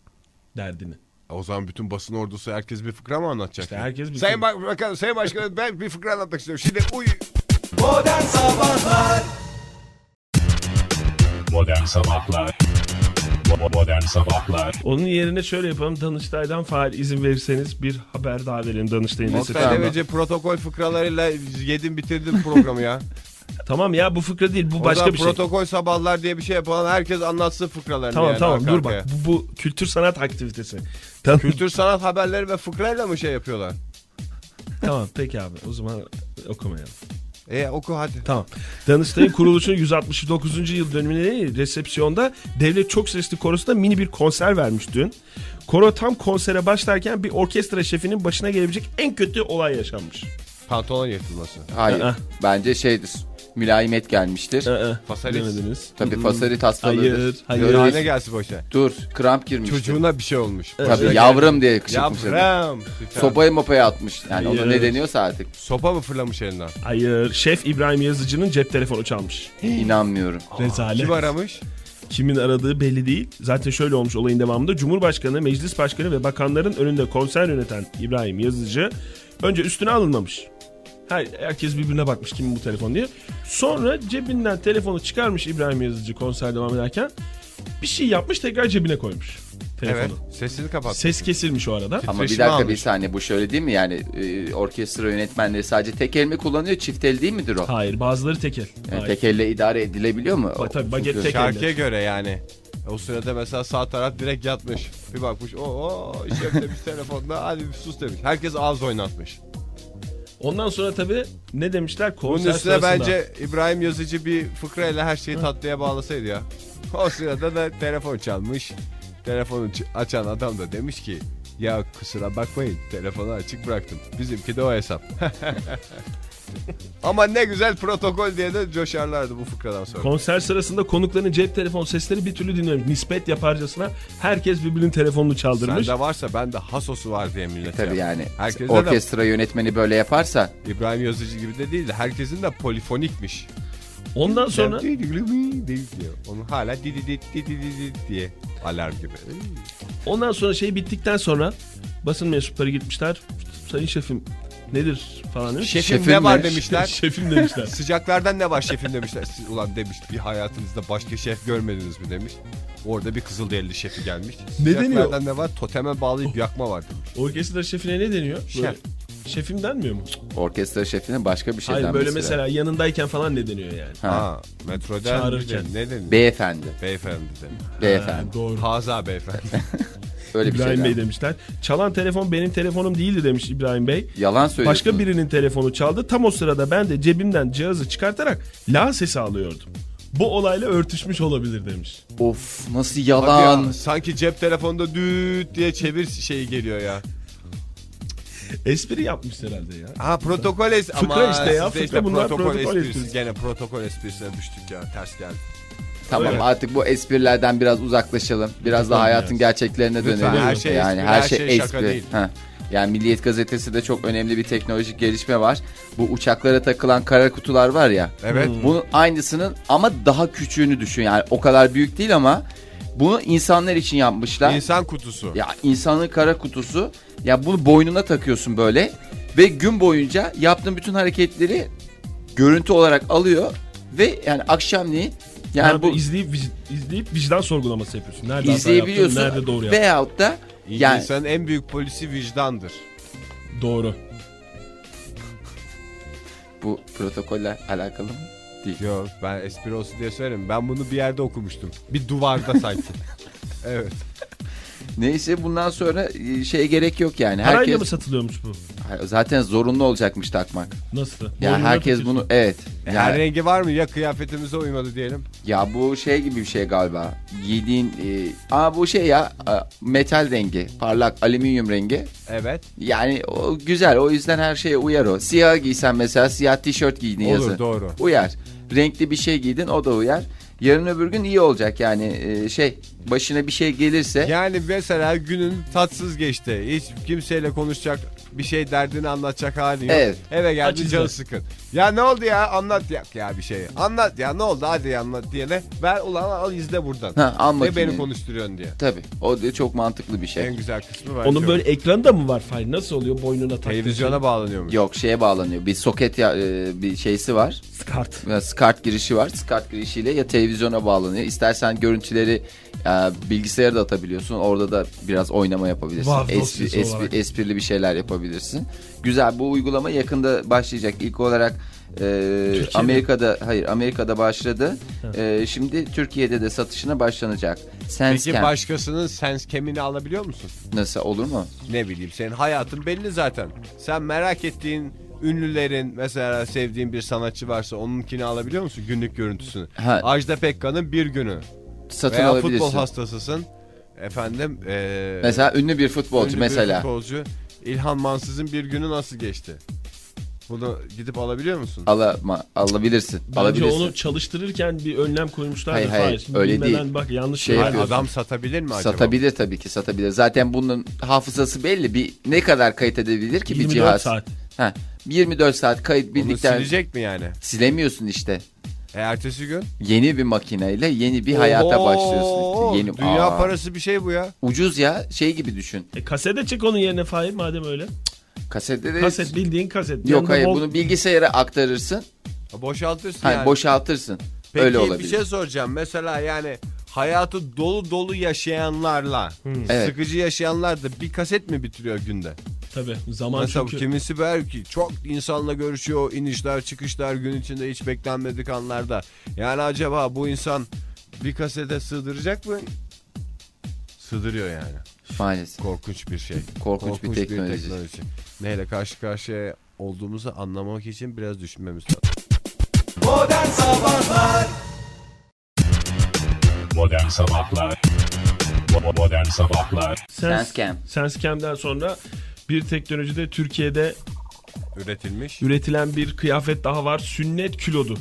[SPEAKER 4] Derdini.
[SPEAKER 2] O zaman bütün basın ordusu herkes bir fıkra mı anlatacak?
[SPEAKER 4] İşte herkes bir
[SPEAKER 2] Sayın
[SPEAKER 4] fıkra-
[SPEAKER 2] Başbakanım, Sayın Başkanım ben bir fıkra anlatmak istiyorum. Şimdi uy
[SPEAKER 1] Modern Sabahlar Modern Sabahlar
[SPEAKER 4] Onun yerine şöyle yapalım. Danıştay'dan faal izin verirseniz bir haber daha verelim Danıştay'ın
[SPEAKER 5] Nokta.
[SPEAKER 4] resetten.
[SPEAKER 2] Oktay Demirci protokol fıkralarıyla yedim bitirdim programı ya.
[SPEAKER 4] Tamam ya bu fıkra değil bu
[SPEAKER 2] O zaman
[SPEAKER 4] başka bir şey.
[SPEAKER 2] protokol sabahlar diye bir şey yapalım. Herkes anlatsın fıkralarını.
[SPEAKER 4] Tamam
[SPEAKER 2] yani
[SPEAKER 4] tamam
[SPEAKER 2] arka
[SPEAKER 4] dur
[SPEAKER 2] arkaya.
[SPEAKER 4] bak bu, bu kültür sanat aktivitesi. Tamam,
[SPEAKER 2] Kültür sanat haberleri ve fıkrayla mı şey yapıyorlar?
[SPEAKER 4] tamam peki abi o zaman okumayalım.
[SPEAKER 2] E oku hadi.
[SPEAKER 4] Tamam. Danıştay'ın kuruluşunun 169. yıl dönümüne resepsiyonda devlet çok sesli korosuna mini bir konser vermiş dün. Koro tam konsere başlarken bir orkestra şefinin başına gelebilecek en kötü olay yaşanmış.
[SPEAKER 2] Pantolon yırtılması.
[SPEAKER 5] Hayır.
[SPEAKER 4] Aa.
[SPEAKER 5] Bence şeydir. Mülayimet gelmiştir.
[SPEAKER 2] Fasalis.
[SPEAKER 4] Demediniz.
[SPEAKER 5] Tabii fasarit hastalığıdır.
[SPEAKER 4] Hmm. Hayır, hayır.
[SPEAKER 5] Böyle-
[SPEAKER 2] Tane gelsin başa.
[SPEAKER 5] Dur kramp girmiştir.
[SPEAKER 2] Çocuğuna bir şey olmuş.
[SPEAKER 5] Tabii şey. yavrum diye çıkmış. herif.
[SPEAKER 2] Yavrum. Sopa...
[SPEAKER 5] Sopayı mopaya atmış. Yani ona
[SPEAKER 4] Hayır.
[SPEAKER 5] ne deniyorsa artık
[SPEAKER 2] Sopa mı fırlamış elinden?
[SPEAKER 4] Hayır. Şef İbrahim Yazıcı'nın cep telefonu çalmış.
[SPEAKER 5] inanmıyorum.
[SPEAKER 4] Rezalet.
[SPEAKER 2] Kim aramış?
[SPEAKER 4] Kimin aradığı belli değil. Zaten şöyle olmuş olayın devamında. Cumhurbaşkanı, meclis başkanı ve bakanların önünde konser yöneten İbrahim Yazıcı önce üstüne alınmamış. Her, herkes birbirine bakmış kimin bu telefon diye. Sonra cebinden telefonu çıkarmış İbrahim Yazıcı konser devam ederken. Bir şey yapmış tekrar cebine koymuş
[SPEAKER 2] Evet.
[SPEAKER 4] telefonu.
[SPEAKER 2] Sesini kapat.
[SPEAKER 4] Ses kesilmiş o arada.
[SPEAKER 5] Ama bir
[SPEAKER 2] Titreşimi
[SPEAKER 5] dakika bir
[SPEAKER 2] almış.
[SPEAKER 5] saniye bu şöyle değil mi yani e, orkestra yönetmenleri sadece tek el mi kullanıyor çift el değil midir o?
[SPEAKER 4] Hayır bazıları tekel.
[SPEAKER 5] Yani
[SPEAKER 4] Hayır.
[SPEAKER 5] tek elle idare edilebiliyor mu?
[SPEAKER 4] Ba- tabii baget
[SPEAKER 5] Çünkü-
[SPEAKER 4] tek-
[SPEAKER 2] Şarkıya göre yani. E, O sırada mesela sağ taraf direkt yatmış. Bir bakmış o şef demiş telefonda hadi bir sus demiş. Herkes ağız oynatmış.
[SPEAKER 4] Ondan sonra tabii ne demişler
[SPEAKER 2] Bunun
[SPEAKER 4] konser
[SPEAKER 2] üstüne
[SPEAKER 4] sırasında.
[SPEAKER 2] bence İbrahim Yazıcı bir fıkrayla her şeyi tatlıya bağlasaydı ya. O sırada da telefon çalmış. Telefonu ç- açan adam da demiş ki ya kusura bakmayın telefonu açık bıraktım. Bizimki de o hesap. Ama ne güzel protokol diye de coşarlardı bu fıkradan sonra.
[SPEAKER 4] Konser sırasında konukların cep telefon sesleri bir türlü dinlememiş. Nispet yaparcasına herkes birbirinin telefonunu çaldırmış.
[SPEAKER 2] Sende varsa bende hasosu var diye millet.
[SPEAKER 5] Tabii
[SPEAKER 2] yaptı.
[SPEAKER 5] yani
[SPEAKER 2] Herkes de
[SPEAKER 5] orkestra yönetmeni böyle yaparsa
[SPEAKER 2] İbrahim Yazıcı gibi de değil de herkesin de polifonikmiş.
[SPEAKER 4] Ondan sonra
[SPEAKER 2] diyor. Onu hala di di di di di di di diye alarm gibi.
[SPEAKER 4] ondan sonra şey bittikten sonra basın mensupları gitmişler. Sayın şefim nedir falan demiş.
[SPEAKER 2] Şefim,
[SPEAKER 5] Şefim
[SPEAKER 2] ne
[SPEAKER 5] ne?
[SPEAKER 2] var demişler.
[SPEAKER 4] şefim demişler.
[SPEAKER 2] Sıcaklardan ne var şefim demişler. Siz ulan demiş bir hayatınızda başka şef görmediniz mi demiş. Orada bir kızılderili şefi gelmiş.
[SPEAKER 4] deniyor?
[SPEAKER 2] Sıcaklardan ne var? Toteme bağlayıp yakma var demiş.
[SPEAKER 4] Orkestra şefine ne deniyor? Böyle-
[SPEAKER 2] Şef.
[SPEAKER 4] Şefim denmiyor mu?
[SPEAKER 5] orkestra şefine başka bir şey şeyden
[SPEAKER 4] Hayır böyle mesela yanındayken falan ne deniyor yani?
[SPEAKER 5] Ha.
[SPEAKER 2] Ha, metrodan
[SPEAKER 4] Çağırırken.
[SPEAKER 2] ne deniyor?
[SPEAKER 5] Beyefendi.
[SPEAKER 2] beyefendi de.
[SPEAKER 5] Beyefendi.
[SPEAKER 4] Ha, doğru.
[SPEAKER 2] Haza beyefendi.
[SPEAKER 5] Öyle bir
[SPEAKER 4] İbrahim Bey
[SPEAKER 5] şey.
[SPEAKER 4] demişler. Çalan telefon benim telefonum değildi demiş İbrahim Bey.
[SPEAKER 5] Yalan söylüyorsun.
[SPEAKER 4] Başka birinin telefonu çaldı. Tam o sırada ben de cebimden cihazı çıkartarak la sesi alıyordum. Bu olayla örtüşmüş olabilir demiş.
[SPEAKER 5] Of nasıl
[SPEAKER 2] Bak
[SPEAKER 5] yalan.
[SPEAKER 2] ya, sanki cep telefonda düt diye çevir şeyi geliyor ya.
[SPEAKER 4] E, Espri yapmış herhalde ya.
[SPEAKER 2] Ha protokol es
[SPEAKER 4] Fıkra
[SPEAKER 2] ama
[SPEAKER 4] işte ya,
[SPEAKER 2] siz de
[SPEAKER 4] fıkra bunlar protokol
[SPEAKER 2] esprisi.
[SPEAKER 4] esprisi.
[SPEAKER 2] Gene protokol esprisine düştük ya ters geldi.
[SPEAKER 5] Tamam
[SPEAKER 4] Evet.
[SPEAKER 5] artık bu esprilerden biraz uzaklaşalım. Biraz da
[SPEAKER 4] Lütfen
[SPEAKER 5] hayatın
[SPEAKER 4] biraz.
[SPEAKER 5] gerçeklerine
[SPEAKER 2] Lütfen,
[SPEAKER 5] dönelim.
[SPEAKER 2] her şey
[SPEAKER 5] yani
[SPEAKER 2] espri,
[SPEAKER 5] her
[SPEAKER 2] her
[SPEAKER 5] şey,
[SPEAKER 2] şey şaka
[SPEAKER 5] espri.
[SPEAKER 2] değil.
[SPEAKER 5] Heh. Yani Milliyet Gazetesi de çok önemli bir teknolojik gelişme var. Bu uçaklara takılan kara kutular var ya. Hmm.
[SPEAKER 2] Evet.
[SPEAKER 5] Bunun aynısının ama daha küçüğünü düşün. Yani o kadar büyük değil ama bunu insanlar için yapmışlar.
[SPEAKER 2] İnsan kutusu.
[SPEAKER 5] Ya insanın kara kutusu ya bunu boynuna takıyorsun böyle ve gün boyunca yaptığın bütün hareketleri görüntü olarak alıyor ve yani akşamleyin yani
[SPEAKER 4] Yani bu
[SPEAKER 5] bu
[SPEAKER 4] izleyip vic- izleyip vicdan sorgulaması yapıyorsun. Nerede
[SPEAKER 5] izleyebiliyorsun
[SPEAKER 4] hata yaptın, nerede doğru yaptın.
[SPEAKER 5] veyahut da yani
[SPEAKER 2] İnsanın en büyük polisi vicdandır.
[SPEAKER 4] Doğru.
[SPEAKER 5] bu protokolle alakalı mı?
[SPEAKER 2] Yok ben espri olsun diye söylerim. Ben bunu bir yerde okumuştum. Bir duvarda sanki. evet.
[SPEAKER 5] Neyse bundan sonra e, şeye gerek yok yani.
[SPEAKER 4] Parayla
[SPEAKER 5] Herkes
[SPEAKER 4] mı satılıyormuş bu?
[SPEAKER 5] Hayır, zaten zorunlu olacakmış takmak.
[SPEAKER 4] Nasıl?
[SPEAKER 5] Ya
[SPEAKER 4] Boynuna
[SPEAKER 5] herkes
[SPEAKER 4] takıyorsun.
[SPEAKER 5] bunu evet.
[SPEAKER 2] Her
[SPEAKER 5] Yani,
[SPEAKER 2] rengi var mı? Ya kıyafetimize uymadı diyelim.
[SPEAKER 5] ya bu şey gibi bir şey galiba. Giydiğin e, aa bu şey ya e, metal rengi, parlak alüminyum rengi.
[SPEAKER 2] Evet.
[SPEAKER 5] Yani o güzel o yüzden her şeye uyar o. Siyah giysen mesela siyah tişört giydin
[SPEAKER 2] Olur,
[SPEAKER 5] yazın.
[SPEAKER 2] doğru.
[SPEAKER 5] Uyar. Renkli bir şey giydin o da uyar. yarın öbür gün iyi olacak yani e, şey başına bir şey gelirse
[SPEAKER 2] Yani mesela günün tatsız geçti. Hiç kimseyle konuşacak bir şey derdini anlatacak halin yok.
[SPEAKER 5] Evet.
[SPEAKER 2] Eve geldi
[SPEAKER 4] Açız
[SPEAKER 2] canı
[SPEAKER 4] da.
[SPEAKER 2] sıkın. Ya ne oldu ya anlat ya, ya bir şey. Anlat ya ne oldu hadi anlat diyene. Ver ulan al izle buradan.
[SPEAKER 5] Ha, al
[SPEAKER 2] Ve beni
[SPEAKER 5] makineyi.
[SPEAKER 2] konuşturuyorsun diye.
[SPEAKER 5] tabii o da çok mantıklı bir şey.
[SPEAKER 2] En güzel kısmı bence
[SPEAKER 4] Onun
[SPEAKER 2] o.
[SPEAKER 4] böyle ekranı da mı var Fahir? Nasıl oluyor boynuna taktığın
[SPEAKER 2] Televizyona bağlanıyormuş.
[SPEAKER 5] Yok şeye bağlanıyor bir soket ya, e, bir şeysi var.
[SPEAKER 4] şey? Skart.
[SPEAKER 5] E, SCART girişi var. SCART girişiyle ya televizyona bağlanıyor. İstersen görüntüleri e, bilgisayara da atabiliyorsun. Orada da biraz oynama yapabilirsin.
[SPEAKER 4] Vav
[SPEAKER 5] Espri,
[SPEAKER 4] dosyası
[SPEAKER 5] espri-
[SPEAKER 4] olarak.
[SPEAKER 5] esprili bir şeyler yapabilirsin. Güzel bu uygulama yakında başlayacak. İlk olarak e, Amerika'da hayır Amerika'da başladı. E, şimdi Türkiye'de de satışına başlanacak.
[SPEAKER 2] Peki
[SPEAKER 5] Sensecam
[SPEAKER 2] başkasının sens kemini alabiliyor musun?
[SPEAKER 5] nasıl olur mu?
[SPEAKER 2] Ne bileyim senin hayatın belli zaten. Sen merak ettiğin ünlülerin mesela sevdiğin bir sanatçı varsa onunkini alabiliyor musun günlük görüntüsünü?
[SPEAKER 5] Ha.
[SPEAKER 2] Ajda Pekkan'ın bir günü.
[SPEAKER 5] Satın
[SPEAKER 2] Veya
[SPEAKER 5] alabilirsin.
[SPEAKER 2] futbol hastasısın. Efendim eee
[SPEAKER 5] Mesela ünlü bir
[SPEAKER 2] ünlü
[SPEAKER 5] futbolcu
[SPEAKER 2] bir
[SPEAKER 5] mesela.
[SPEAKER 2] futbolcu İlhan Mansız'ın bir günü nasıl geçti? Bunu gidip alabiliyor musun?
[SPEAKER 5] Alama, alabilirsin.
[SPEAKER 4] Bence
[SPEAKER 5] alabilirsin.
[SPEAKER 4] onu çalıştırırken bir önlem koymuşlar.
[SPEAKER 5] Hayır, hayır, öyle değil.
[SPEAKER 4] Bak yanlış
[SPEAKER 5] Şey
[SPEAKER 4] Hayır,
[SPEAKER 2] Yani
[SPEAKER 5] yapıyorsun.
[SPEAKER 2] adam satabilir mi acaba?
[SPEAKER 5] Satabilir tabii ki satabilir. Zaten bunun hafızası belli. Bir ne kadar kayıt edebilir ki bir
[SPEAKER 4] 24
[SPEAKER 5] cihaz?
[SPEAKER 4] saat.
[SPEAKER 5] Ha, 24 saat kayıt
[SPEAKER 2] Onu
[SPEAKER 5] bildikten
[SPEAKER 2] silecek mi yani?
[SPEAKER 5] silemiyorsun işte.
[SPEAKER 2] E, ertesi gün?
[SPEAKER 5] Yeni bir makineyle yeni bir hayata
[SPEAKER 2] Oho!
[SPEAKER 5] başlıyorsun. işte. Yeni
[SPEAKER 2] Dünya
[SPEAKER 5] Aa,
[SPEAKER 2] parası bir şey bu ya.
[SPEAKER 5] ucuz ya. Şey gibi düşün.
[SPEAKER 4] E, kasete çek onun yerine Fahir madem öyle.
[SPEAKER 5] Kasette de
[SPEAKER 4] Kaset bildiğin kaset.
[SPEAKER 5] Yok hayır
[SPEAKER 4] Yanında bol-
[SPEAKER 5] bunu bilgisayara aktarırsın.
[SPEAKER 2] Boşaltırsın
[SPEAKER 5] Hani
[SPEAKER 2] yani.
[SPEAKER 5] boşaltırsın.
[SPEAKER 2] Peki
[SPEAKER 5] Öyle olabilir.
[SPEAKER 2] bir şey soracağım. Mesela yani hayatı dolu dolu yaşayanlarla
[SPEAKER 5] Evet.
[SPEAKER 2] sıkıcı yaşayanlar da bir kaset mi bitiriyor günde?
[SPEAKER 4] Tabii zaman
[SPEAKER 2] Mesela
[SPEAKER 4] çünkü.
[SPEAKER 2] kimisi belki çok insanla görüşüyor. inişler çıkışlar gün içinde hiç beklenmedik anlarda. Yani acaba bu insan bir kasete sığdıracak mı? Sığdırıyor yani.
[SPEAKER 5] Maalesef.
[SPEAKER 2] Korkunç bir şey.
[SPEAKER 5] Korkunç, bir teknoloji.
[SPEAKER 2] Neyle karşı karşıya olduğumuzu anlamak için biraz düşünmemiz lazım.
[SPEAKER 1] Modern Sabahlar Modern Sabahlar
[SPEAKER 5] Senscam.
[SPEAKER 4] Senscam'den sonra bir teknolojide Türkiye'de
[SPEAKER 2] Üretilmiş.
[SPEAKER 4] üretilen bir kıyafet daha var. Sünnet kilodu.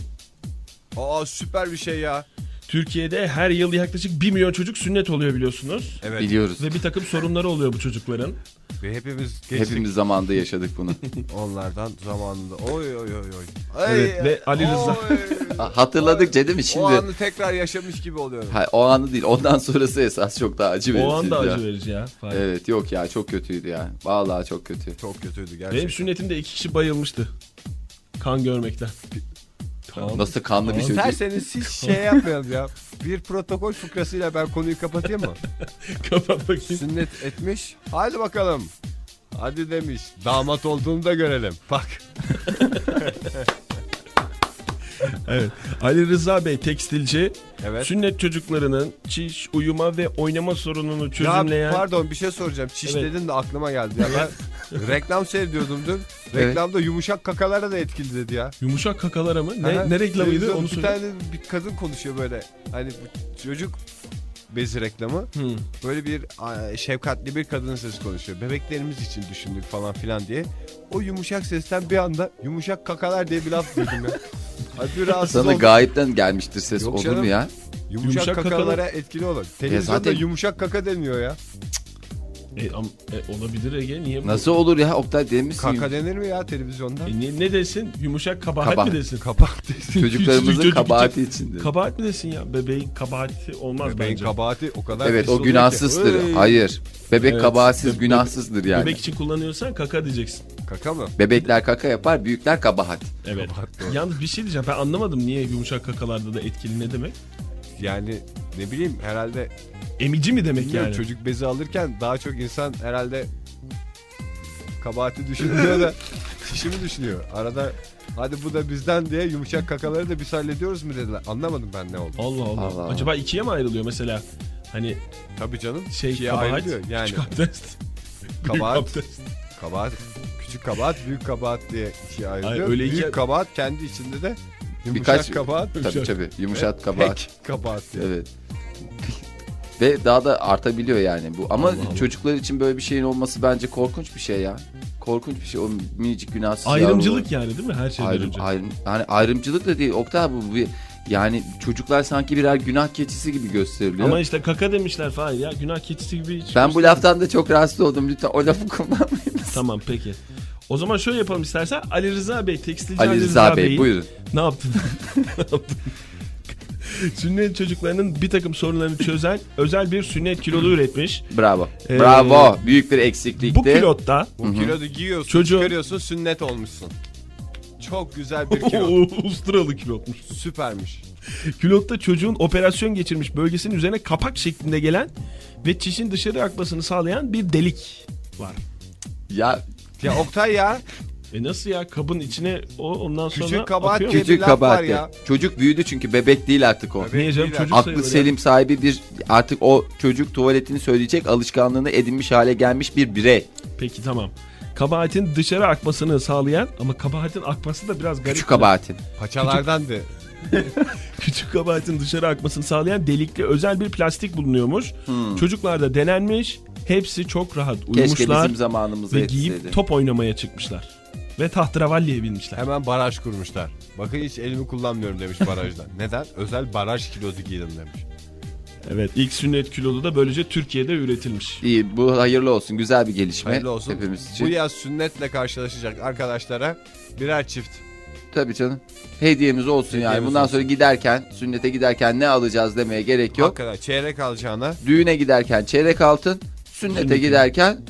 [SPEAKER 2] Aa süper bir şey ya.
[SPEAKER 4] Türkiye'de her yıl yaklaşık 1 milyon çocuk sünnet oluyor biliyorsunuz.
[SPEAKER 2] Evet.
[SPEAKER 5] Biliyoruz.
[SPEAKER 4] Ve bir takım sorunları oluyor bu çocukların.
[SPEAKER 2] Ve hepimiz geçtik
[SPEAKER 5] Hepimiz zamanında yaşadık bunu.
[SPEAKER 2] onlardan zamanında. Oy oy oy oy.
[SPEAKER 4] Evet, ve Ali Rıza.
[SPEAKER 2] Oy.
[SPEAKER 5] Hatırladıkça değil mi?
[SPEAKER 2] O
[SPEAKER 5] Şimdi
[SPEAKER 2] anı tekrar yaşamış gibi oluyorum.
[SPEAKER 5] Hayır, o anı değil. Ondan sonrası esas çok daha acı verici.
[SPEAKER 4] O anda
[SPEAKER 5] ya.
[SPEAKER 4] acı verici ya. Fahir.
[SPEAKER 5] Evet yok ya çok kötüydü ya. Vallahi çok kötü.
[SPEAKER 2] Çok kötüydü gerçekten.
[SPEAKER 4] Benim sünnetimde iki kişi bayılmıştı. Kan görmekten. Tamam.
[SPEAKER 5] Nasıl kanlı bir çocuk.
[SPEAKER 2] İsterseniz siz şey yapmayalım ya. Bir protokol fıkrasıyla ben konuyu kapatayım mı?
[SPEAKER 4] Kapat bakayım.
[SPEAKER 2] Sünnet etmiş. Hadi bakalım. Hadi demiş. Damat olduğunu da görelim. Bak.
[SPEAKER 4] Evet. Ali Rıza Bey tekstilci.
[SPEAKER 2] Evet.
[SPEAKER 4] Sünnet çocuklarının çiş, uyuma ve oynama sorununu
[SPEAKER 2] Ya
[SPEAKER 4] çözümleyen
[SPEAKER 2] pardon bir şey soracağım. Çiş
[SPEAKER 4] Evet.
[SPEAKER 2] dedin de aklıma geldi. Ya ben reklam seyrediyordum dün. Reklamda yumuşak kakalara da etkili dedi ya.
[SPEAKER 4] yumuşak kakalara mı?
[SPEAKER 2] Aha,
[SPEAKER 4] Ne, ne reklamıydı
[SPEAKER 2] televizyon
[SPEAKER 4] onu
[SPEAKER 2] Bir
[SPEAKER 4] söyle.
[SPEAKER 2] tane bir kadın konuşuyor böyle. Hani bu çocuk bezi reklamı.
[SPEAKER 4] Hı.
[SPEAKER 2] Böyle bir a, şefkatli bir kadın sesi konuşuyor. Bebeklerimiz için düşündük falan filan diye. O yumuşak sesten bir anda yumuşak kakalar diye bir laf duydum ya. Ay bir rahatsız
[SPEAKER 5] Sana
[SPEAKER 2] oldum.
[SPEAKER 5] gayipten gelmiştir ses
[SPEAKER 2] Yok
[SPEAKER 5] olur
[SPEAKER 2] canım.
[SPEAKER 5] mu ya?
[SPEAKER 2] yumuşak,
[SPEAKER 4] Yumuşak
[SPEAKER 2] kakalara
[SPEAKER 4] kakalar-
[SPEAKER 2] etkili olur. Televizyonda
[SPEAKER 5] zaten-
[SPEAKER 2] yumuşak kaka deniyor ya.
[SPEAKER 4] E, am- e, olabilir Ege niye? bu-
[SPEAKER 5] Nasıl olur ya Oktay demiş
[SPEAKER 2] Kaka denir mi ya televizyonda?
[SPEAKER 4] E, ne, ne desin? Yumuşak kabahat
[SPEAKER 5] Kabahat.
[SPEAKER 4] mi desin?
[SPEAKER 2] Kabahat desin.
[SPEAKER 5] Çocuklarımızın
[SPEAKER 4] Çocuk- çocuk-
[SPEAKER 5] kabahati içindir.
[SPEAKER 4] Kabahat mi desin ya? Bebeğin kabahati olmaz
[SPEAKER 2] Bebeğin
[SPEAKER 4] bence.
[SPEAKER 2] kabahati o kadar
[SPEAKER 5] evet
[SPEAKER 2] pis
[SPEAKER 5] o
[SPEAKER 2] oluyor ki.
[SPEAKER 5] günahsızdır.
[SPEAKER 2] Iy,
[SPEAKER 5] Hayır. Bebek
[SPEAKER 4] Evet.
[SPEAKER 5] kabahatsiz
[SPEAKER 4] Bebek-
[SPEAKER 5] günahsızdır yani.
[SPEAKER 4] Bebek için kullanıyorsan kaka diyeceksin.
[SPEAKER 2] Kaka mı?
[SPEAKER 5] Bebekler kaka yapar büyükler kabahat.
[SPEAKER 4] Evet.
[SPEAKER 2] Kabahat doğru.
[SPEAKER 4] Yalnız bir şey diyeceğim. Ben anlamadım niye yumuşak kakalarda da etkili ne demek?
[SPEAKER 2] Yani ne bileyim herhalde
[SPEAKER 4] Emici mi demek
[SPEAKER 2] Bilmiyorum,
[SPEAKER 4] yani?
[SPEAKER 2] çocuk bezi alırken daha çok insan herhalde kabahati düşünmüyor da işimi düşünüyor. Arada hadi bu da bizden diye yumuşak kakaları da biz hallediyoruz mu dediler. Anlamadım ben ne oldu.
[SPEAKER 4] Allah Allah.
[SPEAKER 5] Allah Allah.
[SPEAKER 4] Acaba ikiye mi ayrılıyor mesela? Hani
[SPEAKER 2] Tabii canım.
[SPEAKER 4] şey
[SPEAKER 2] ikiye
[SPEAKER 4] kabahat,
[SPEAKER 2] ayrılıyor. Yani
[SPEAKER 4] küçük abdest. büyük
[SPEAKER 2] Kabahat.
[SPEAKER 4] abdest.
[SPEAKER 2] kabahat, küçük kabahat, büyük kabahat diye ikiye ayrılıyor.
[SPEAKER 4] Hayır, öyle
[SPEAKER 2] büyük
[SPEAKER 4] ikiye-
[SPEAKER 2] kabahat kendi içinde de yumuşak
[SPEAKER 5] Birkaç-
[SPEAKER 2] kabahat,
[SPEAKER 5] Tabii tabii. Yumuşat kabahat.
[SPEAKER 2] pek kabahat diye.
[SPEAKER 5] Evet. Ve daha da artabiliyor yani bu. Ama çocuklar için böyle bir şeyin olması bence korkunç bir şey ya. Korkunç bir şey o minicik günahsız. yavrular.
[SPEAKER 4] Ayrımcılık yani değil mi her şeyden
[SPEAKER 5] Ayrım,
[SPEAKER 4] önce?
[SPEAKER 5] ayrım, hani ayrımcılık da değil. Oktay abi bu bir Yani çocuklar sanki birer günah keçisi gibi gösteriliyor.
[SPEAKER 4] Ama işte kaka demişler Fahir ya. Günah keçisi gibi. hiç-
[SPEAKER 5] ben bu laftan da çok rahatsız oldum. Lütfen o lafı kullanmayınız.
[SPEAKER 4] Tamam peki. O zaman şöyle yapalım istersen. Ali Rıza Bey, tekstilci
[SPEAKER 5] Ali Rıza Bey
[SPEAKER 4] Bey'i-
[SPEAKER 5] buyurun.
[SPEAKER 4] Ne yaptın? ne yaptın? sünnet çocuklarının bir takım sorunlarını çözen özel bir sünnet kilolu üretmiş.
[SPEAKER 5] Bravo.
[SPEAKER 4] Ee,
[SPEAKER 5] Bravo. Büyük bir eksiklikti.
[SPEAKER 4] Bu pilotta
[SPEAKER 2] Bu kilodu giyiyorsun
[SPEAKER 4] Çocuğu-
[SPEAKER 2] çıkarıyorsun sünnet olmuşsun. Çok güzel bir kilo.
[SPEAKER 4] Ustralı kilotmuş.
[SPEAKER 2] Süpermiş.
[SPEAKER 4] Pilotta çocuğun operasyon geçirmiş bölgesinin üzerine kapak şeklinde gelen ve çişin dışarı akmasını sağlayan bir delik var.
[SPEAKER 5] Ya
[SPEAKER 2] Ya Oktay ya
[SPEAKER 4] E nasıl ya kabın içine o ondan sonra
[SPEAKER 2] Küçük kabahat
[SPEAKER 4] akıyor mu?
[SPEAKER 2] diye bir
[SPEAKER 5] küçük
[SPEAKER 2] laf var
[SPEAKER 5] kabahati.
[SPEAKER 2] ya.
[SPEAKER 5] Çocuk büyüdü çünkü bebek değil artık o.
[SPEAKER 2] Bebek
[SPEAKER 4] Niye canım
[SPEAKER 2] değil
[SPEAKER 4] çocuk
[SPEAKER 5] Aklı
[SPEAKER 4] sayılır ya.
[SPEAKER 5] selim sahibi bir artık o çocuk tuvaletini söyleyecek alışkanlığını edinmiş hale gelmiş bir birey.
[SPEAKER 4] Peki tamam. Kabahatin dışarı akmasını sağlayan ama kabahatin akması da biraz garip. şey.
[SPEAKER 5] Küçük kabahatin.
[SPEAKER 2] paçalardandı.
[SPEAKER 4] Küçük kabahatin dışarı akmasını sağlayan delikli özel bir plastik bulunuyormuş. Çocuklarda denenmiş. Hepsi çok rahat
[SPEAKER 5] Hmm. Keşke
[SPEAKER 4] uyumuşlar
[SPEAKER 5] bizim zamanımızda
[SPEAKER 4] ve
[SPEAKER 5] yetişseydi.
[SPEAKER 4] giyip top oynamaya çıkmışlar. Ve tahtıravalliye binmişler.
[SPEAKER 2] Hemen baraj kurmuşlar. Bakın hiç elimi kullanmıyorum demiş barajdan. Neden? Özel baraj kilosu giydim demiş.
[SPEAKER 4] Evet ilk sünnet kilolu da böylece Türkiye'de üretilmiş.
[SPEAKER 5] İyi bu hayırlı olsun. Güzel bir gelişme.
[SPEAKER 2] Hayırlı olsun.
[SPEAKER 5] Hepimiz için.
[SPEAKER 2] Bu yaz sünnetle karşılaşacak arkadaşlara birer çift.
[SPEAKER 5] Tabii canım. Hediyemiz olsun yani.
[SPEAKER 2] Hediyemiz
[SPEAKER 5] Bundan
[SPEAKER 2] olsun.
[SPEAKER 5] sonra giderken, sünnete giderken ne alacağız demeye gerek yok.
[SPEAKER 2] Hakikaten çeyrek alacağına
[SPEAKER 5] Düğüne giderken çeyrek altın, sünnete
[SPEAKER 4] Sünnet.
[SPEAKER 5] giderken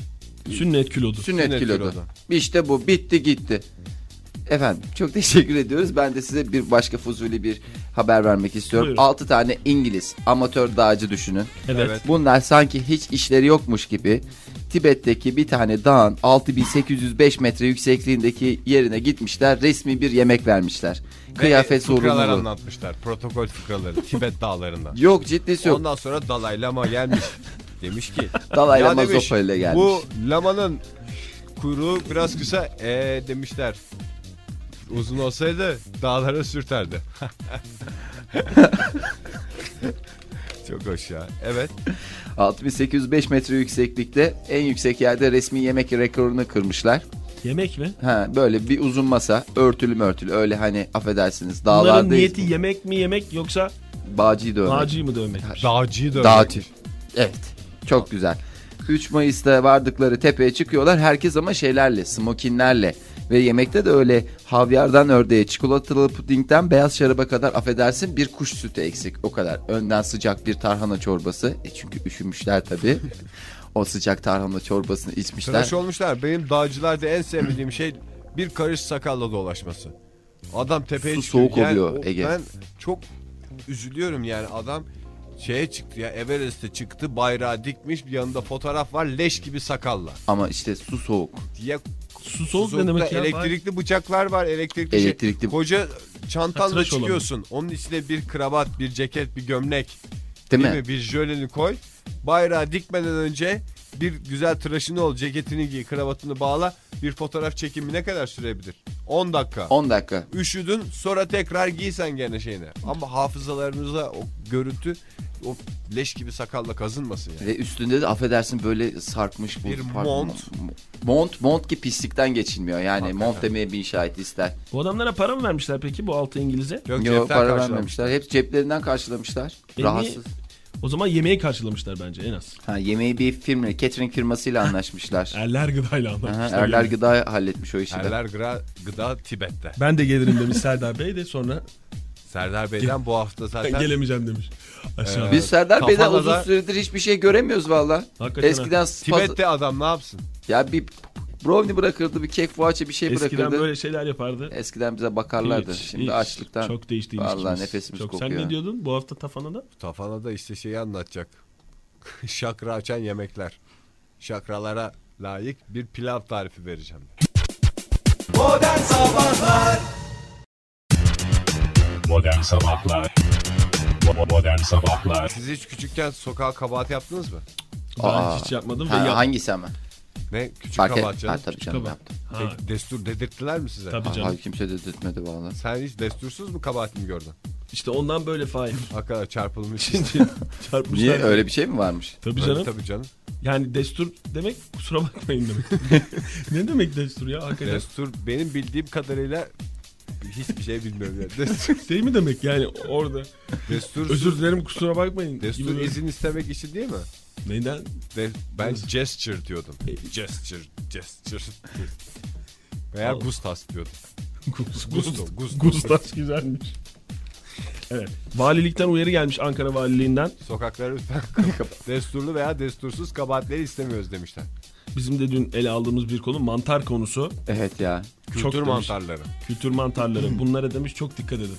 [SPEAKER 4] Sünnet kilodu.
[SPEAKER 5] sünnet,
[SPEAKER 2] Sünnet
[SPEAKER 5] kilodu.
[SPEAKER 2] kilodu.
[SPEAKER 5] İşte bu bitti gitti. Efendim çok teşekkür ediyoruz. Ben de size bir başka fuzuli bir haber vermek istiyorum.
[SPEAKER 4] Buyurun.
[SPEAKER 5] 6 tane İngiliz amatör dağcı düşünün.
[SPEAKER 4] Evet.
[SPEAKER 2] Evet.
[SPEAKER 5] Bunlar sanki hiç işleri yokmuş gibi Tibet'teki bir tane dağın 6805 metre yüksekliğindeki yerine gitmişler. Resmi bir yemek vermişler. Kıyafet
[SPEAKER 2] fıkralar
[SPEAKER 5] sorumluluğu.
[SPEAKER 2] anlatmışlar. Protokol fıkraları Tibet dağlarından.
[SPEAKER 5] Yok ciddisi yok.
[SPEAKER 2] Ondan sonra Dalai Lama gelmiş. demiş ki.
[SPEAKER 5] Dalai
[SPEAKER 2] "Ya"
[SPEAKER 5] Lama
[SPEAKER 2] demiş,
[SPEAKER 5] sopayla gelmiş.
[SPEAKER 2] Bu lamanın kuyruğu biraz kısa ee demişler. Uzun olsaydı dağlara sürterdi. Çok hoş ya. Evet.
[SPEAKER 5] 6805 metre yükseklikte en yüksek yerde resmi yemek rekorunu kırmışlar.
[SPEAKER 4] Yemek mi?
[SPEAKER 5] Ha böyle bir uzun masa örtülü mörtülü öyle hani affedersiniz
[SPEAKER 4] Bunların
[SPEAKER 5] dağlardayız.
[SPEAKER 4] niyeti yemek mi yemek yoksa
[SPEAKER 5] Bağcıyı dövmek.
[SPEAKER 4] ağacıyı mı dövmek?
[SPEAKER 2] Dağcıyı da
[SPEAKER 5] Dağcı. Evet çok güzel. 3 Mayıs'ta vardıkları tepeye çıkıyorlar. Herkes ama şeylerle, smokinlerle ve yemekte de öyle havyardan ördeğe, çikolatalı pudingden beyaz şaraba kadar affedersin bir kuş sütü eksik o kadar. Önden sıcak bir tarhana çorbası. E çünkü üşümüşler tabii. o sıcak tarhana çorbasını içmişler.
[SPEAKER 2] Tıraş olmuşlar. Benim dağcılarda en sevmediğim şey bir karış sakalla dolaşması. Adam tepeye
[SPEAKER 5] Su
[SPEAKER 2] çıkıyor.
[SPEAKER 5] soğuk oluyor,
[SPEAKER 2] o-
[SPEAKER 5] Ege.
[SPEAKER 2] Ben çok üzülüyorum yani adam şeye çıktı ya Everest'e çıktı bayrağı dikmiş bir yanında fotoğraf var leş gibi sakalla.
[SPEAKER 5] Ama işte su soğuk.
[SPEAKER 2] Diye
[SPEAKER 4] Su soğuk ne
[SPEAKER 2] Soğukta
[SPEAKER 4] demek ya?
[SPEAKER 2] elektrikli bıçaklar var elektrikli,
[SPEAKER 5] Elektrikli-
[SPEAKER 2] şey. Koca çantanla
[SPEAKER 4] Hatıraş olamaz.
[SPEAKER 2] çıkıyorsun. Onun içine bir kravat, bir ceket, bir gömlek.
[SPEAKER 5] Değil, mi?
[SPEAKER 2] Bir jöleni koy. Bayrağı dikmeden önce bir güzel tıraşını ol, ceketini giy, kravatını bağla. Bir fotoğraf çekimi ne kadar sürebilir? 10 dakika.
[SPEAKER 5] 10 dakika.
[SPEAKER 2] Üşüdün sonra tekrar giysen gene şeyini. Ama hafızalarımıza o görüntü o leş gibi sakalla kazınmasın yani.
[SPEAKER 5] Ve üstünde de affedersin böyle sarkmış bu.
[SPEAKER 2] Bir
[SPEAKER 5] pardon,
[SPEAKER 2] mont.
[SPEAKER 5] Mont, mont ki pislikten geçilmiyor. Yani mont demeye bin şahit ister.
[SPEAKER 4] Bu adamlara para mı vermişler peki bu altı İngiliz'e?
[SPEAKER 2] Yok,
[SPEAKER 5] Yok
[SPEAKER 2] cepten
[SPEAKER 5] para
[SPEAKER 2] karşılamış.
[SPEAKER 5] vermemişler. Hep ceplerinden karşılamışlar.
[SPEAKER 4] E
[SPEAKER 5] Rahatsız.
[SPEAKER 4] niye? O zaman yemeği karşılamışlar bence en az.
[SPEAKER 5] Ha, yemeği bir firma, catering firmasıyla anlaşmışlar.
[SPEAKER 4] Erler gıdayla
[SPEAKER 5] Aha,
[SPEAKER 4] anlatmışlar.
[SPEAKER 5] Erler
[SPEAKER 4] yemeği.
[SPEAKER 5] Gıda halletmiş o işi de.
[SPEAKER 2] Erler gıda, gıda Tibet'te.
[SPEAKER 4] Ben de gelirim demiş Serdar Bey de sonra
[SPEAKER 2] Serdar Bey'den bu hafta
[SPEAKER 4] ben
[SPEAKER 2] zaten
[SPEAKER 4] gelemeyeceğim demiş. Aşağıda.
[SPEAKER 5] Biz Serdar Bey'den
[SPEAKER 2] Kafanada-
[SPEAKER 5] uzun süredir hiçbir şey göremiyoruz valla.
[SPEAKER 4] Hakikaten ha.
[SPEAKER 5] Eskiden spaz-
[SPEAKER 2] Tibet'te adam ne yapsın?
[SPEAKER 5] ya bir brownie bırakırdı, bir kek fuaça bir şey
[SPEAKER 4] Eskiden
[SPEAKER 5] bırakırdı.
[SPEAKER 4] böyle şeyler yapardı.
[SPEAKER 5] Eskiden bize bakarlardı.
[SPEAKER 4] Hiç,
[SPEAKER 5] Şimdi
[SPEAKER 4] hiç.
[SPEAKER 5] açlıktan.
[SPEAKER 4] Çok değişti
[SPEAKER 5] Valla
[SPEAKER 4] ilişkimiz.
[SPEAKER 5] nefesimiz
[SPEAKER 4] Çok.
[SPEAKER 5] kokuyor.
[SPEAKER 4] Sen ne diyordun bu hafta tafana da?
[SPEAKER 2] Tafana da işte şeyi anlatacak. Şakra açan yemekler. Şakralara layık bir pilav tarifi vereceğim.
[SPEAKER 1] Modern Sabahlar Bo- Modern Sabahlar
[SPEAKER 2] Siz hiç küçükken sokağa kabahat yaptınız mı?
[SPEAKER 4] Ben
[SPEAKER 5] Aa.
[SPEAKER 4] hiç yapmadım ve
[SPEAKER 5] Ha,
[SPEAKER 4] yap-
[SPEAKER 5] hangisi ama?
[SPEAKER 2] Ne? Küçük
[SPEAKER 5] Fark et.
[SPEAKER 2] kabahat
[SPEAKER 5] Ha,
[SPEAKER 2] canım.
[SPEAKER 5] tabii canım
[SPEAKER 4] Tabii.
[SPEAKER 5] yaptım.
[SPEAKER 4] Ha,
[SPEAKER 2] Peki, Destur dedirttiler mi size?
[SPEAKER 4] tabii
[SPEAKER 5] Aha,
[SPEAKER 4] canım.
[SPEAKER 5] kimse de tutmadı valla.
[SPEAKER 2] Sen hiç destursuz mu kabahatimi gördün?
[SPEAKER 4] İşte ondan böyle fail.
[SPEAKER 2] Hakikaten çarpılmış.
[SPEAKER 4] Çarpmışlar.
[SPEAKER 5] Niye öyle bir şey mi varmış?
[SPEAKER 4] Tabii
[SPEAKER 2] Tabii
[SPEAKER 4] canım.
[SPEAKER 2] Tabii canım.
[SPEAKER 4] Yani destur demek kusura bakmayın demek. ne demek destur ya hakikaten?
[SPEAKER 2] Destur benim bildiğim kadarıyla hiçbir şey bilmiyorum. Yani. Destur,
[SPEAKER 4] Şey mi demek yani orada?
[SPEAKER 2] destur,
[SPEAKER 4] Özür dilerim kusura bakmayın.
[SPEAKER 2] destur
[SPEAKER 4] gibi böyle-
[SPEAKER 2] izin istemek işi değil mi?
[SPEAKER 4] Neyden?
[SPEAKER 2] De- ben gesture diyordum.
[SPEAKER 5] E,
[SPEAKER 2] Gesture, gesture. Veya gustas diyordum. Gusto, gusto.
[SPEAKER 4] Gustav güzelmiş. Evet. Valilikten uyarı gelmiş Ankara Valiliğinden.
[SPEAKER 2] Sokakları lütfen kapat. Desturlu veya destursuz kabahatleri istemiyoruz demişler.
[SPEAKER 4] Bizim de dün ele aldığımız bir konu mantar konusu.
[SPEAKER 5] Evet ya.
[SPEAKER 2] Kültür
[SPEAKER 4] Çok demiş.
[SPEAKER 2] mantarları.
[SPEAKER 4] Kültür
[SPEAKER 2] Hmm.
[SPEAKER 4] mantarları. Bunlara demiş çok dikkat edin.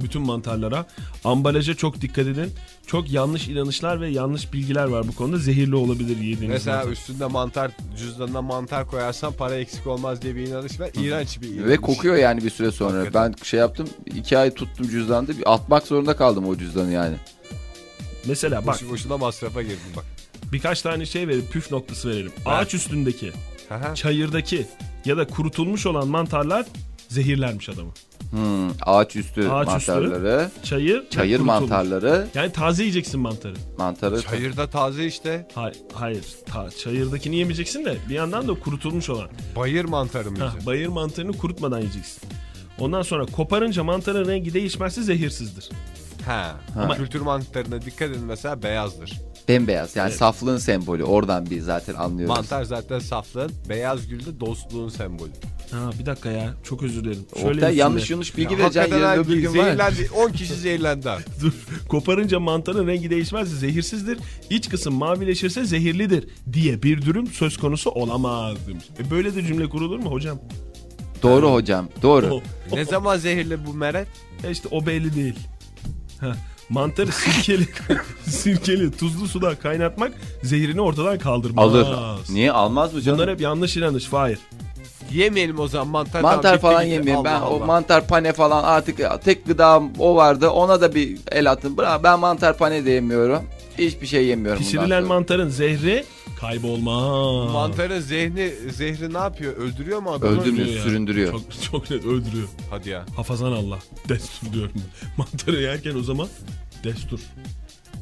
[SPEAKER 4] Bütün mantarlara. Ambalaja çok dikkat edin. Çok yanlış inanışlar ve yanlış bilgiler var bu konuda. Zehirli olabilir yediğiniz
[SPEAKER 2] Mesela
[SPEAKER 4] mantar.
[SPEAKER 2] üstünde mantar, cüzdanına mantar koyarsan para eksik olmaz diye bir inanış var. İğrenç bir inanış.
[SPEAKER 5] Ve kokuyor yani bir süre sonra.
[SPEAKER 2] Hakikaten.
[SPEAKER 5] Ben şey yaptım. iki ay tuttum cüzdanı. Bir Atmak zorunda kaldım o cüzdanı yani.
[SPEAKER 4] Mesela bak
[SPEAKER 2] Boşu boşuna masrafa girdim bak.
[SPEAKER 4] birkaç tane şey verelim. Püf noktası verelim. Ağaç üstündeki,
[SPEAKER 2] Aha.
[SPEAKER 4] çayırdaki ya da kurutulmuş olan mantarlar zehirlermiş adamı.
[SPEAKER 5] Hmm, ağaç üstü
[SPEAKER 4] Ağaç üstü.
[SPEAKER 5] mantarları.
[SPEAKER 4] Çayır, ve
[SPEAKER 5] Çayır
[SPEAKER 4] kurutulmuş.
[SPEAKER 5] mantarları.
[SPEAKER 4] Yani taze yiyeceksin mantarı.
[SPEAKER 5] Mantarı.
[SPEAKER 2] Çayırda taze işte.
[SPEAKER 4] Hayır, hayır. Ta, çayırdakini yemeyeceksin de bir yandan da kurutulmuş olan.
[SPEAKER 2] Bayır mantarı mıydı?
[SPEAKER 4] Hah, bayır mantarını kurutmadan yiyeceksin. Ondan sonra koparınca mantarın rengi değişmezse zehirsizdir.
[SPEAKER 2] Ha.
[SPEAKER 5] Ha.
[SPEAKER 2] Kültür mantarına dikkat edin mesela beyazdır.
[SPEAKER 5] Bembeyaz. Yani saflığın sembolü. Oradan bir zaten anlıyoruz.
[SPEAKER 2] Mantar zaten saflığın, beyaz gül de dostluğun sembolü.
[SPEAKER 4] Ha bir dakika ya. Çok özür dilerim. Şöyle
[SPEAKER 5] Oktay
[SPEAKER 4] bir şey.
[SPEAKER 5] yanlış
[SPEAKER 4] cümle.
[SPEAKER 5] yanlış bilgi
[SPEAKER 2] Ya
[SPEAKER 5] vereceğin
[SPEAKER 2] hakikaten
[SPEAKER 5] yarın
[SPEAKER 2] ha,
[SPEAKER 5] öbür gün var.
[SPEAKER 2] zehirlendi. 10 kişi zehirlendi. ha.
[SPEAKER 4] Dur. Koparınca mantarın rengi değişmezse zehirsizdir. İç kısım mavileşirse zehirlidir diye bir durum söz konusu olamaz demiş. E böyle de cümle kurulur mu hocam?
[SPEAKER 5] Doğru hocam. Doğru.
[SPEAKER 2] ne zaman zehirli bu meret?
[SPEAKER 4] E işte o belli değil. Ha, mantarı sirkeli, sirkeli tuzlu suda kaynatmak zehirini ortadan kaldırmaz.
[SPEAKER 5] Alır. Niye almaz mı canım?
[SPEAKER 4] Bunlar hep yanlış inanış. Fahir.
[SPEAKER 2] Yemeyelim o zaman mantar. tamam,
[SPEAKER 5] Mantar
[SPEAKER 2] bitti
[SPEAKER 5] falan
[SPEAKER 2] gitti.
[SPEAKER 5] yemeyeyim. Ben
[SPEAKER 2] Allah
[SPEAKER 5] o
[SPEAKER 2] Allah.
[SPEAKER 5] mantar pane falan artık tek gıdam o vardı. Ona da bir el attım. Bra ben mantar pane de yemiyorum. Hiçbir şey yemiyorum. bundan
[SPEAKER 4] Pişirilen
[SPEAKER 5] sonra.
[SPEAKER 4] mantarın zehri kaybolmaz.
[SPEAKER 2] Mantarın zehni, zehri ne yapıyor? Öldürüyor mu adamı?
[SPEAKER 5] Öldürmüyor,
[SPEAKER 4] ya.
[SPEAKER 5] süründürüyor.
[SPEAKER 4] Çok, çok net öldürüyor.
[SPEAKER 2] Hadi ya.
[SPEAKER 4] Hafazan Allah. Destur diyorum. ben. Mantarı yerken o zaman destur.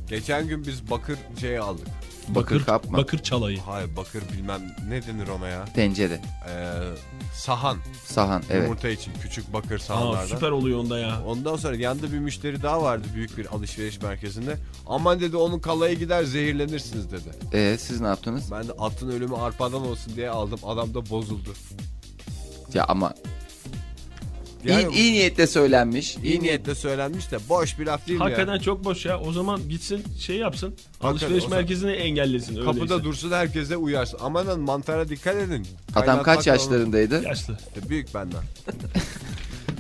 [SPEAKER 2] Geçen gün biz bakır şey aldık.
[SPEAKER 5] Bakır kapma.
[SPEAKER 4] Bakır çalayı.
[SPEAKER 2] Hayır bakır bilmem ne denir ona ya.
[SPEAKER 5] Tencere,
[SPEAKER 2] Ee, sahan.
[SPEAKER 5] sahan. Evet.
[SPEAKER 2] Yumurta için küçük bakır
[SPEAKER 4] Aa,
[SPEAKER 2] sahanlardan.
[SPEAKER 4] süper oluyor onda ya.
[SPEAKER 2] Ondan sonra yanında bir müşteri daha vardı büyük bir alışveriş merkezinde. Aman dedi onun kalaya gider zehirlenirsiniz dedi.
[SPEAKER 5] Ee, siz ne yaptınız?
[SPEAKER 2] Ben de atın ölümü arpadan olsun diye aldım. Adam da bozuldu.
[SPEAKER 5] Ya ama
[SPEAKER 2] Yani
[SPEAKER 5] iyi, iyi niyetle söylenmiş.
[SPEAKER 2] iyi
[SPEAKER 5] İyi niyet.
[SPEAKER 2] niyetle söylenmiş de boş bir laf değil mi
[SPEAKER 4] Hakikaten
[SPEAKER 2] ya?
[SPEAKER 4] çok boş ya. O zaman gitsin şey yapsın.
[SPEAKER 2] Hakikaten,
[SPEAKER 4] alışveriş
[SPEAKER 2] o zaman-
[SPEAKER 4] merkezini engellesin. Öyleyse.
[SPEAKER 2] Kapıda dursun herkese uyarsın. Amanın mantara dikkat edin.
[SPEAKER 5] Adam kaç
[SPEAKER 2] Kaynatmakla olur.
[SPEAKER 5] yaşlarındaydı?
[SPEAKER 4] Yaşlı.
[SPEAKER 2] İşte büyük benden.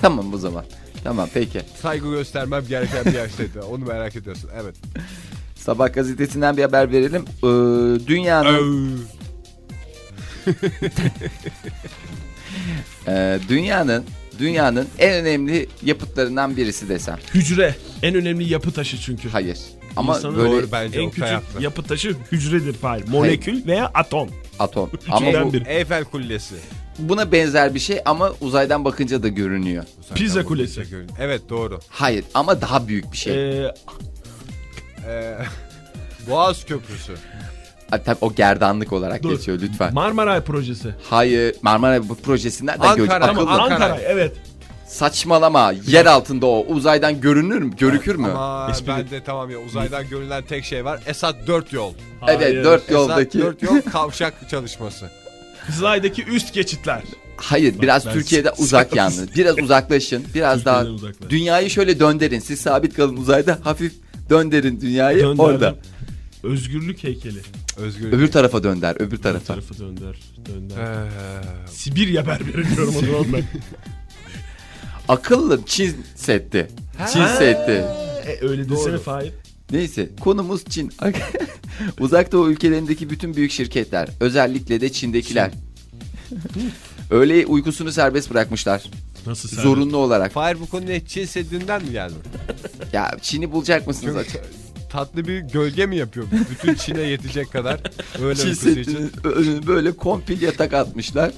[SPEAKER 5] Tamam o zaman. Tamam peki.
[SPEAKER 2] Saygı göstermem gereken bir yaştaydı. Onu merak ediyorsun. Evet.
[SPEAKER 5] Sabah gazetesinden bir haber verelim. Ee, dünyanın Ee, dünyanın dünyanın en önemli yapıtlarından birisi desem.
[SPEAKER 4] Hücre. En önemli yapı taşı çünkü.
[SPEAKER 5] Hayır. Ama
[SPEAKER 4] İnsanın
[SPEAKER 5] böyle
[SPEAKER 2] Doğru bence
[SPEAKER 4] en
[SPEAKER 2] o
[SPEAKER 4] küçük
[SPEAKER 2] kayaklı.
[SPEAKER 4] yapı taşı hücredir Fahir. Molekül veya atom.
[SPEAKER 5] atom. Ama
[SPEAKER 4] Üçünden
[SPEAKER 5] bu,
[SPEAKER 4] biri.
[SPEAKER 2] Eyfel Kulesi.
[SPEAKER 5] buna benzer bir şey ama uzaydan bakınca da görünüyor.
[SPEAKER 2] Zaten
[SPEAKER 4] Pizza
[SPEAKER 2] bunu
[SPEAKER 4] Kulesi.
[SPEAKER 2] görün. Evet doğru.
[SPEAKER 5] Hayır ama daha büyük bir şey.
[SPEAKER 4] Ee,
[SPEAKER 2] Ee, Boğaz Köprüsü.
[SPEAKER 5] Ha, Tabii o gerdanlık olarak
[SPEAKER 4] Dur.
[SPEAKER 5] geçiyor lütfen.
[SPEAKER 4] Marmaray projesi.
[SPEAKER 5] Hayır Marmara bu projesinden de
[SPEAKER 2] Ankara.
[SPEAKER 5] göç
[SPEAKER 4] Tamam
[SPEAKER 5] akıllı.
[SPEAKER 2] Ankara.
[SPEAKER 4] Ankara evet.
[SPEAKER 5] Saçmalama yer altında o uzaydan görünür mü? Görükür mü?
[SPEAKER 2] Ama
[SPEAKER 4] Espri-
[SPEAKER 2] ben de tamam ya uzaydan görülen tek şey var. Esat 4 yol.
[SPEAKER 5] Evet
[SPEAKER 4] Hayır.
[SPEAKER 5] dört
[SPEAKER 2] Esat
[SPEAKER 5] yoldaki.
[SPEAKER 2] 4 yol kavşak çalışması.
[SPEAKER 4] Kızılay'daki üst geçitler.
[SPEAKER 5] Hayır biraz
[SPEAKER 4] ben-
[SPEAKER 5] Türkiye'de uzak yalnız. Biraz uzaklaşın. Biraz daha
[SPEAKER 4] Türkiye'den uzaklaş.
[SPEAKER 5] dünyayı şöyle dönderin. Siz sabit kalın uzayda hafif dönderin dünyayı
[SPEAKER 4] Dönderdim.
[SPEAKER 5] orada.
[SPEAKER 4] Özgürlük heykeli.
[SPEAKER 2] Özgür.
[SPEAKER 5] Öbür tarafa dönder, öbür
[SPEAKER 4] Bu
[SPEAKER 5] tarafa.
[SPEAKER 4] tarafı dönder. Dönder.
[SPEAKER 2] Ee,
[SPEAKER 4] Sibirya berberi diyorum o zaman ben.
[SPEAKER 5] Akıllı Çin setti. Çin setti.
[SPEAKER 4] E, öyle desene Fahir.
[SPEAKER 5] Neyse konumuz Çin. Uzak Doğu ülkelerindeki bütün büyük şirketler, özellikle de Çin'dekiler. Öğle uykusunu serbest bırakmışlar.
[SPEAKER 4] Nasıl sen?
[SPEAKER 5] Zorunlu olarak.
[SPEAKER 2] Fahir bu konu ne? Çin Seddi'nden mi geldi?
[SPEAKER 5] Ya Çin'i bulacak mısınız?
[SPEAKER 2] Çünkü tatlı bir gölge mi yapıyor? Bütün Çin'e yetecek kadar. Öyle
[SPEAKER 5] Çin
[SPEAKER 2] uykusu için.
[SPEAKER 5] Seddi'nin önüne böyle kompil yatak atmışlar.